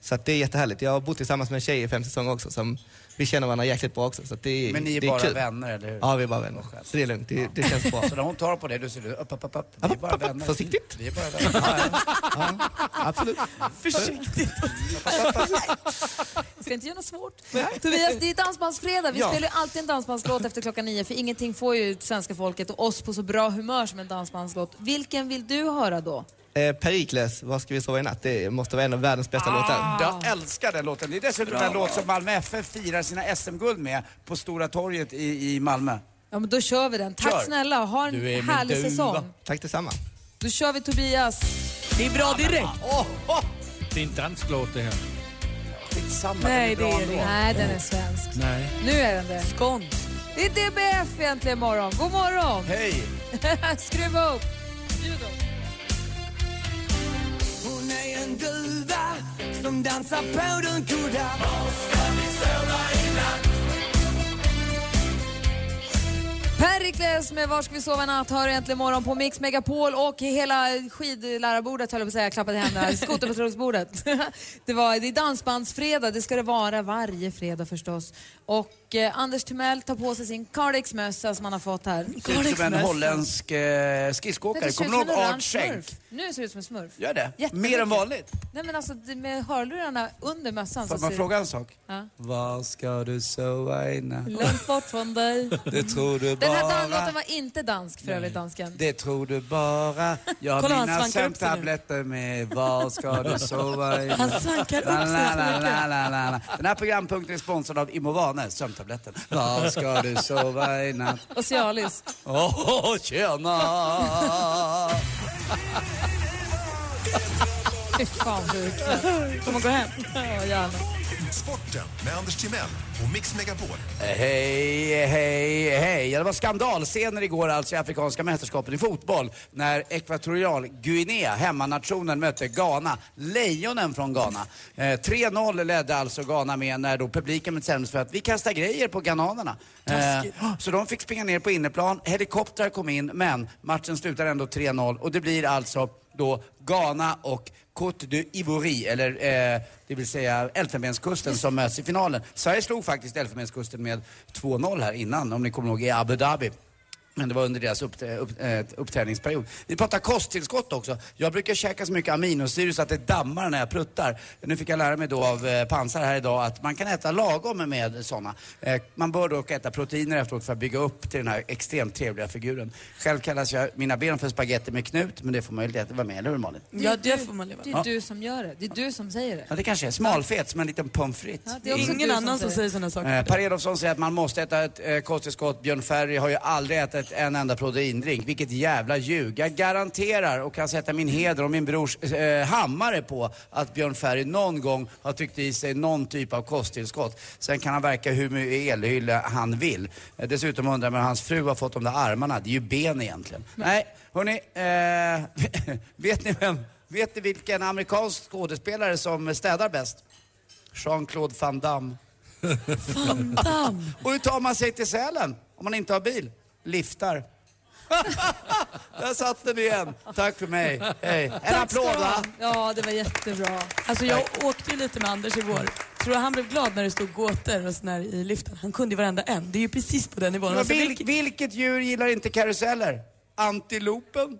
S5: så att det är jättehärligt. Jag har bott tillsammans med en tjej i fem säsonger också. Som vi känner varandra jäkligt bra också. Så att det,
S7: Men ni är
S5: det
S7: bara
S5: kul.
S7: vänner, eller hur?
S5: Ja, vi är bara vänner. Så det är lugnt. Det, det känns bra.
S7: <laughs> Så när hon tar på det, då ser du upp, upp, upp, upp. Vi är bara vänner.
S5: Försiktigt.
S7: Vi är bara vänner. Ja, ja.
S5: Absolut.
S7: Försiktigt.
S4: Ska inte göra något svårt. Tobias, det är dansbandsfredag. Vi
S5: Ja.
S4: spelar ju alltid en dansbandslåt efter klockan nio för ingenting får ju svenska folket och oss på så bra humör som en dansbandslåt. Vilken vill du höra då?
S14: Eh, Perikles, Var ska vi sova i natt? Det måste vara en av världens bästa låtar.
S7: Jag älskar den låten. Det är dessutom
S14: Bra.
S7: en låt som Malmö FF firar sina SM-guld med på Stora torget i, i Malmö.
S4: Ja, men då kör vi den. Tack
S7: Kör.
S4: snälla och ha en härlig säsong.
S14: Tack detsamma.
S4: Då kör vi Tobias. Det är bra direkt.
S15: Det är en dansklåt det här.
S7: Skitsamma,
S4: Nej, det är det Nej, den är svensk.
S15: Nej.
S4: Nu är den det. Skånsk. Det är DBF egentligen imorgon. God morgon.
S7: Hej.
S4: <laughs> Skruva upp.
S2: Hon är en duva som dansar på den goda.
S4: Perikles med Var ska vi sova i natt hör äntligen imorgon på Mix Megapol och hela skidlärarbordet höll jag på att säga, klappade
S2: <laughs>
S4: händerna, skoterpatrullsbordet. det, var, det är dansbandsfredag, det ska det vara varje fredag förstås. Och eh, Anders Timell tar på sig sin Cardex-mössa som han har fått här.
S7: Ser ut Typ som en holländsk eh, skridskoåkare.
S4: Nej, det ser
S7: Kommer
S4: ut
S7: du
S4: som
S7: ihåg
S4: en
S7: Art
S4: orange
S7: Schenk?
S4: smurf. Nu ser det ut som en smurf.
S7: Gör det?
S4: Jättemycket.
S7: Mer än vanligt.
S4: Nej men alltså det- med hörlurarna under mössan
S7: Får
S4: så
S7: man
S4: ser
S7: fråga en sak?
S4: Ja.
S7: Var ska du sova i natt?
S4: Långt bort från dig.
S7: Det tror du
S4: Den här
S7: bara.
S4: danslåten var inte dansk för övrigt, dansken.
S7: Det tror du bara. Jag har
S4: Kolla, han
S7: mina
S4: svankar upp sig nu.
S7: sömntabletter med. Var
S4: <laughs>
S7: ska du sova i natt?
S4: Han svankar upp sig
S7: La, la,
S4: så
S7: la,
S4: mycket.
S7: la, la, la, la. Den här programpunkten är sponsrad av Imovane, sömntabletten. Var ska du sova i natt?
S4: Och Cialis.
S7: Åh, oh, tjena!
S4: Fy fan sjukt. Kommer gå hem. Ja, gärna.
S8: Sporten med Anders Timell och Mix Megapol.
S7: Hej, hej, hej. Ja, Det var skandalscener igår alltså i Afrikanska mästerskapen i fotboll när Ekvatorial Guinea, hemmanationen, mötte Ghana. Lejonen från Ghana. Eh, 3-0 ledde alltså Ghana med när då publiken bestämde sig för att vi kastar grejer på ghananerna. Eh,
S11: Taskigt.
S7: så de fick springa ner på inneplan, helikoptrar kom in, men matchen slutar ändå 3-0 och det blir alltså då Ghana och Côte d'Ivoire, eller eh, det vill säga Elfenbenskusten som möts i finalen. Sverige slog faktiskt Elfenbenskusten med 2-0 här innan, om ni kommer ihåg, i Abu Dhabi. Men det var under deras upp, upp, eh, uppträningsperiod. Vi pratar kosttillskott också. Jag brukar käka så mycket aminosyror så att det dammar när jag pruttar. Nu fick jag lära mig då av eh, Pansar här idag att man kan äta lagom med sådana. Eh, man bör dock äta proteiner efteråt för att bygga upp till den här extremt trevliga figuren. Själv kallas jag mina ben för spagetti med knut, men det får man ju inte vara med, eller hur Malin?
S6: Ja, det får man leva
S4: Det
S7: Ja.
S4: är du som gör det. Det är du som säger det.
S7: Ja, det kanske är smalfet som en liten pommes frites.
S4: Ja, det är också Ingen du som annan som säger. säger såna saker.
S7: Eh, Per Elofsson säger att man måste äta ett eh, kosttillskott. Björn Ferry har ju aldrig ätit en enda proteindrink. Vilket jävla ljug. Jag garanterar och kan sätta min heder och min brors eh, hammare på att Björn Ferry någon gång har tryckt i sig någon typ av kosttillskott. Sen kan han verka hur mycket elhylla han vill. Eh, dessutom undrar man hur hans fru har fått de där armarna. Det är ju ben egentligen. Nej, hörni. Eh, <laughs> vet ni vem? Vet ni vilken amerikansk skådespelare som städar bäst? Jean-Claude Van Damme. Van
S6: <laughs>
S7: Damme. Och hur tar man sig till Sälen om man inte har bil? Liftar. <laughs> Där satt den igen. Tack för mig. Hej. En
S6: Tack ska
S7: applåd
S6: du ha.
S7: va?
S4: Ja, det var jättebra.
S6: Alltså jag åkte ju lite med Anders i vår. Tror du han blev glad när det stod gåtor och sån här i liften? Han kunde ju varenda en. Det är ju precis på den nivån.
S7: Men
S6: Alltså,
S7: vil, vilket djur gillar inte karuseller? Antilopen.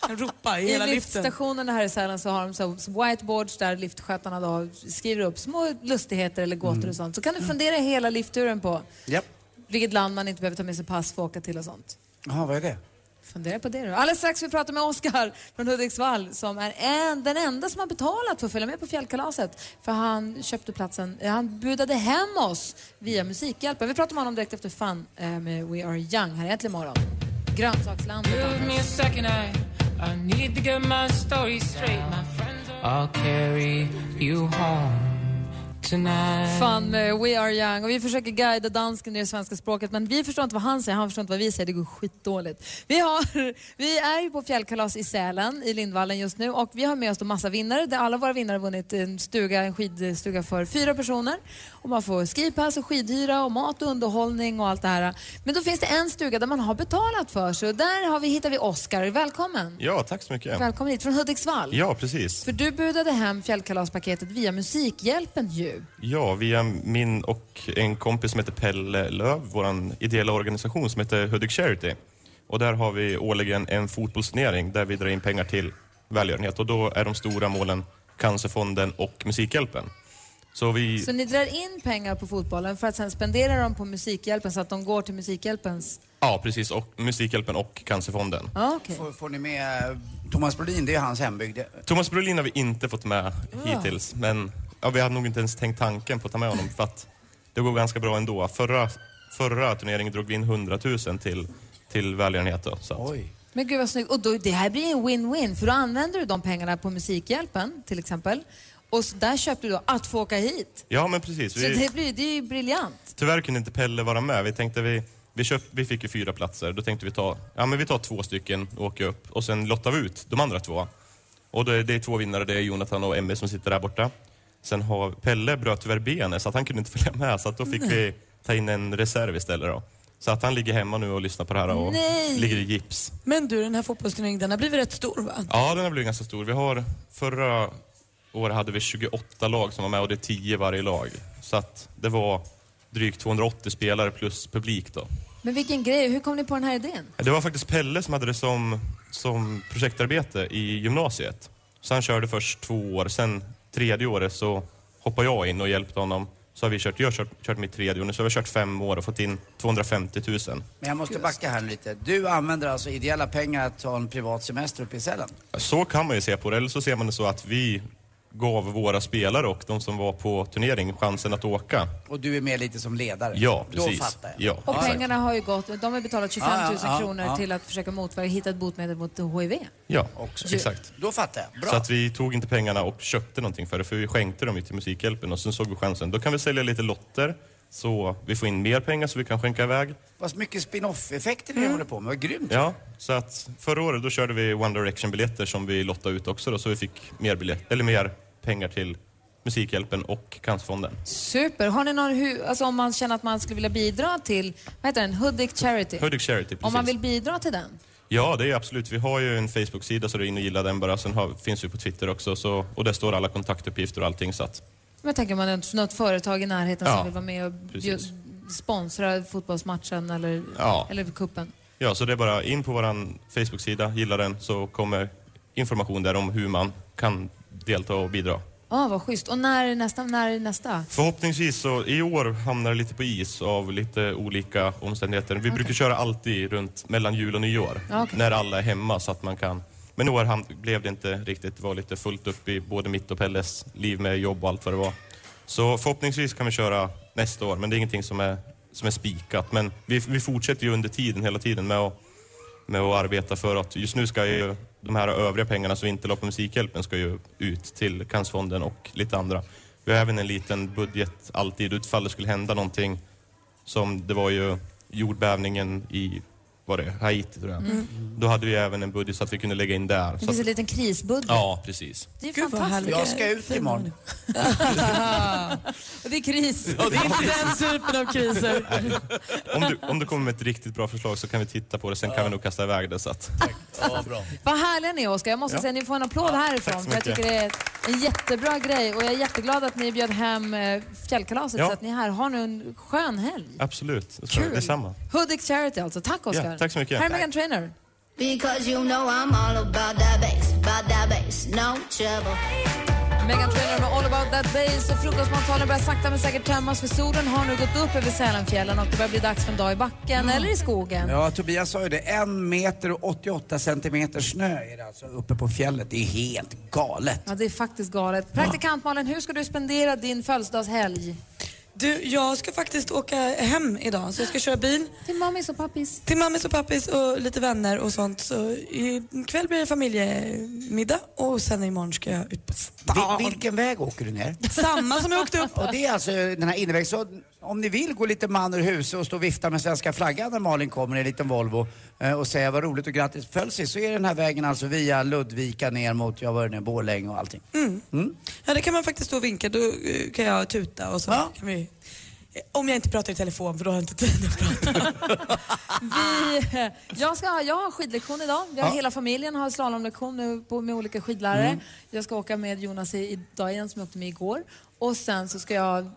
S6: Han ropar i
S4: I
S6: hela liften.
S4: liftstationerna här i Sälen så har de så så whiteboards där liftskötarna då skriver upp små lustigheter eller gåtor
S7: Mm.
S4: och sånt. Så kan du fundera hela liftturen på
S7: Japp.
S4: vilket land man inte behöver ta med sig pass för att åka till och sånt.
S7: Jaha, vad är det?
S4: Fundera på det då. Alldeles strax vi pratar med Oskar från Hudiksvall som är en, den enda som har betalat för att följa med på fjällkalaset. För han köpte platsen, eh, han budade hem oss via Musikhjälpen. Vi pratar med honom direkt efter Fun eh, med We Are Young här äntligen imorgon. Grönsakslandet.
S16: I'll carry you home tonight.
S4: Fan med eh, We Are Young och vi försöker guida dansken i det svenska språket men vi förstår inte vad han säger, han förstår inte vad vi säger, det går skitdåligt. Vi, har, <laughs> vi är ju på fjällkalas i Sälen, i Lindvallen just nu och vi har med oss då massa vinnare där alla våra vinnare har vunnit en stuga, en skidstuga för fyra personer och man får skipass och skidhyra och mat och underhållning och allt det här. Men då finns det en stuga där man har betalat för sig och där har vi, hittar vi Oskar, välkommen!
S10: Ja, tack så mycket.
S4: Välkommen hit från Hudiksvall!
S10: Ja, precis.
S4: För du budade hem fjällkalaspaketet via Musikhjälpen ju.
S10: Ja, via min och en kompis som heter Pelle Löv, vår ideella organisation som heter Hudik Charity. Och där har vi årligen en fotbollsturnering där vi drar in pengar till välgörenhet och då är de stora målen Cancerfonden och Musikhjälpen. Så vi...
S4: Så ni drar in pengar på fotbollen för att sen spendera dem på Musikhjälpen så att de går till Musikhjälpens...
S10: Ja, precis. Och Musikhjälpen och Cancerfonden.
S4: Ja, okej.
S7: Får, får ni med eh, Thomas Brolin? Det är ju hans hembygd.
S10: Thomas Brolin har vi inte fått med
S7: Ja.
S10: hittills, men ja, vi hade nog inte ens tänkt tanken på att ta med honom för att det går ganska bra ändå. Förra, förra turneringen drog vi in 100 000 till, till välgörenhet. Då, så att,
S4: Men gud vad snyggt. Och då, det här blir en win-win för då använder du de pengarna på Musikhjälpen till exempel. Och så där köpte du då att få åka hit.
S10: ja, men precis.
S4: Så det
S10: Vi,
S4: blir det är ju briljant.
S10: tyvärr kunde inte Pelle vara med. Vi tänkte vi, vi, köp, vi fick ju fyra platser. Då tänkte vi ta ja, men vi tar två stycken och åker upp och sen lottar vi ut de andra två. Och då är det är två vinnare. Det är Jonathan och Emmy som sitter där borta. Sen har Pelle bröt tyvärr benet så att han kunde inte <laughs> följa med så att då fick
S4: Nej.
S10: vi ta in en reserv istället. Då. Så att han ligger hemma nu och lyssnar på det här och
S6: Nej.
S10: ligger i gips.
S6: Men du, den här fotbollsturneringen den har blivit rätt stor va?
S10: Ja, den har blivit ganska stor. Vi har, förra året hade vi 28 lag som var med och det är 10 varje lag. Så att det var drygt 280 spelare plus publik då.
S4: Men vilken grej. Hur kom ni på den här idén?
S10: Det var faktiskt Pelle som hade det som, som projektarbete i gymnasiet. Så han körde först två år, sen tredje året så hoppade jag in och hjälpte honom. Så har vi kört, jag har kört, kört mitt tredje år nu, så har vi kört fem år och fått in 250 000.
S7: Men jag måste backa här lite. Du använder alltså ideella pengar att ta en privat semester uppe i Sälen?
S10: Så kan man ju se på det, eller så ser man det så att vi gav våra spelare och de som var på turnering chansen att åka.
S7: Och du är med lite som ledare?
S10: Ja,
S7: Då
S10: precis.
S7: fattar jag.
S10: Ja,
S4: Och
S10: exakt.
S4: pengarna har ju gått, de har betalat 25 000
S7: Ja, ja, ja,
S4: kronor
S7: ja.
S4: till att försöka motverka, hitta ett botemedel mot HIV.
S10: Ja,
S7: Också.
S10: exakt.
S7: Då fattar jag. Bra.
S10: Så att vi tog inte pengarna och köpte någonting för det, för vi skänkte dem ju till Musikhjälpen och sen såg vi chansen. Då kan vi sälja lite lotter så vi får in mer pengar så vi kan skänka iväg.
S7: Vad mycket spin-off-effekter
S10: Mm.
S7: ni håller på med. Vad grymt.
S10: Ja, så att förra året då körde vi One Direction-biljetter som vi lottade ut också då, så vi fick mer, biljett, eller mer pengar till Musikhjälpen och Cancerfonden.
S4: Super. Har ni någon, hur, alltså om man känner att man skulle vilja bidra till, vad heter den, Hudik Charity?
S10: Hudik Charity,
S4: Om
S10: precis.
S4: man vill bidra till den?
S10: Ja, det är absolut. Vi har ju en Facebook-sida så det är in och gilla den bara. Sen har, finns vi på Twitter också så, och där står alla kontaktuppgifter och allting. Så att,
S4: Men jag tänker om man har något företag i närheten
S10: Ja,
S4: som vill vara med och bjud,
S10: precis.
S4: sponsra fotbollsmatchen eller,
S10: Ja.
S4: eller kuppen.
S10: ja, så det är bara in på vår Facebook-sida, gilla den, så kommer information där om hur man kan delta och bidra.
S4: Ja, vad schysst. Och när är nästa? När är nästa?
S10: Förhoppningsvis så, i år hamnar det lite på is av lite olika omständigheter. Vi brukar köra alltid runt mellan jul och nyår,
S4: Ja, okej.
S10: när alla är hemma så att man kan. Men i år ham- blev det inte riktigt, det var lite fullt upp i både mitt och Pelles liv med jobb och allt vad det var. Så förhoppningsvis kan vi köra nästa år, men det är ingenting som är, som är spikat. Men vi, vi fortsätter ju under tiden, hela tiden med att, med att arbeta för att just nu ska ju de här övriga pengarna som vi inte la på Musikhjälpen ska ju ut till Cancerfonden och lite andra. Vi har även en liten budget alltid utfall det skulle hända någonting som det var ju jordbävningen i var det, Haiti tror jag.
S4: Mm.
S10: Då hade vi även en budget så att vi kunde lägga in där.
S4: Det
S10: Så
S4: finns en
S10: att,
S4: liten krisbudget.
S10: ja, precis.
S4: Det är
S6: Gud, vad
S4: fantastiskt.
S7: Jag ska ut imorgon.
S4: och det är kris.
S6: Ja, det är inte den typen
S10: <laughs>
S6: av kriser.
S10: Om du, om du kommer med ett riktigt bra förslag så kan vi titta på det, sen kan vi nog kasta iväg det. Så att,
S4: Vad härliga ni är, Oskar. Jag måste
S10: Ja.
S4: säga, ni får en applåd
S10: tack
S4: härifrån.
S10: så
S4: För jag
S10: mycket.
S4: tycker det är en jättebra grej och jag är jätteglad att ni bjöd hem eh, fjällkalaset
S10: Ja.
S4: så att ni är här. Har nu en skön helg.
S10: absolut, jag tror
S4: Kul.
S10: detsamma.
S4: Hudik Charity alltså. Tack Oskar.
S10: Ja, tack så mycket.
S4: Här är Megan Trainor.
S17: Because you know I'm all about that bass, about that bass, no trouble.
S4: Megan Trainor med All about that bass och frukostmatsalen börjar sakta men säkert tömmas för solen har nu gått upp över Sälenfjällen och det börjar bli dags för en dag i backen
S10: Mm.
S4: eller i skogen.
S7: Ja, Tobias sa ju det. En meter och 88 centimeter snö är det alltså uppe på fjället. Det är helt galet.
S4: Ja, det är faktiskt galet. Praktikant Malin, hur ska du spendera din födelsedagshelg?
S6: Du, jag ska faktiskt åka hem idag så jag ska köra bil.
S4: Till mammis och pappis?
S6: Till mammis och pappis och lite vänner och sånt. Så ikväll blir det familjemiddag och sen imorgon ska jag ut på
S7: Vi, vilken väg åker du ner?
S6: Samma som jag åkte
S10: <laughs>
S6: upp.
S7: Och det är alltså den här innervägs... Så om ni vill gå lite man ur huset och stå och vifta med svenska flaggan när Malin kommer i en liten Volvo eh, och säga vad roligt och grattis på födelsedag så är den här vägen alltså via Ludvika ner mot, jag var nu Borlänge och allting.
S6: Mm. Ja, det kan man faktiskt stå och vinka. Då eh, kan jag tuta och så kan vi... eh, Om jag inte pratar i telefon för då har jag inte tid att prata.
S4: <laughs> Vi, <laughs> jag, ska, ha- jag har skidlektion idag. Jag,
S6: Ja. Mm.
S4: Hela familjen har slalomlektion nu på, med olika skidlärare. Jag ska åka med Jonas i- idag igen som jag åkte med igår. Och sen så ska jag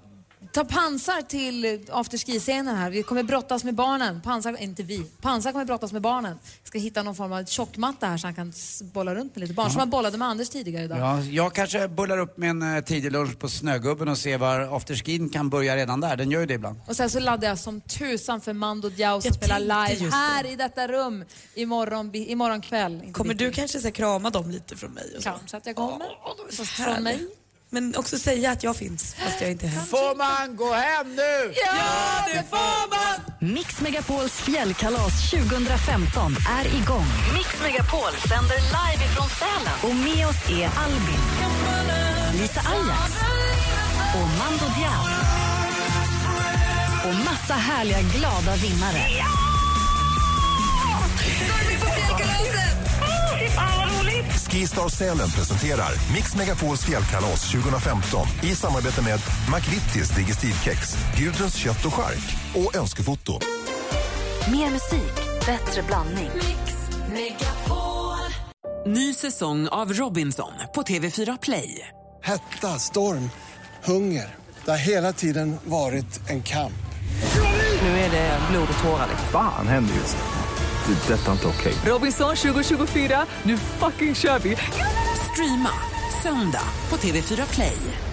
S4: Ta pansar till afterski-scenen här. Vi kommer brottas med barnen. Pansar, inte vi. Pansar kommer brottas med barnen. Ska hitta någon form av tjockmatta här så han kan s- bolla runt med lite barn. Som han bollade med Anders tidigare idag.
S7: Ja, jag kanske bullar upp med en eh, tidig lunch på Snögubben och ser var afterskin kan börja redan där. Den gör ju det ibland.
S4: Och sen så laddar jag som tusan för Mando Diao som spelar
S6: tänkte
S4: live
S6: just det.
S4: här i detta rum imorgon, bi- imorgon kväll. Inte
S6: Kommer
S4: bitti.
S6: du kanske så här, krama dem lite från mig? Och så?
S4: Kanske att jag kommer. Fast
S6: härligt.
S4: från mig.
S6: Men också säga att jag finns fast jag inte är här.
S7: Får man gå hem nu?
S6: Ja, det får man!
S3: Mix Megapols fjällkalas 2015 är igång. Mix Megapol sänder live ifrån Sälen. Och med oss är Albin, Lisa Ajax och Mando Diao. Och massa härliga glada vinnare.
S8: Skistar Sälen presenterar Mix Megapols fjällkalas 2015 i samarbete med McVittys Digestivkex, Gudruns kött och skark och Önskefoto.
S3: Mer musik, bättre blandning. Mix
S18: Ny säsong av Robinson på TV4 Play.
S19: Hetta, storm, hunger. Det har hela tiden varit en kamp.
S18: Nu är det blod och tårar.
S9: Fan händer just det. Det är detta inte okej.
S18: Robinson 2024, nu fucking kör vi! Streama söndag på TV4 Play.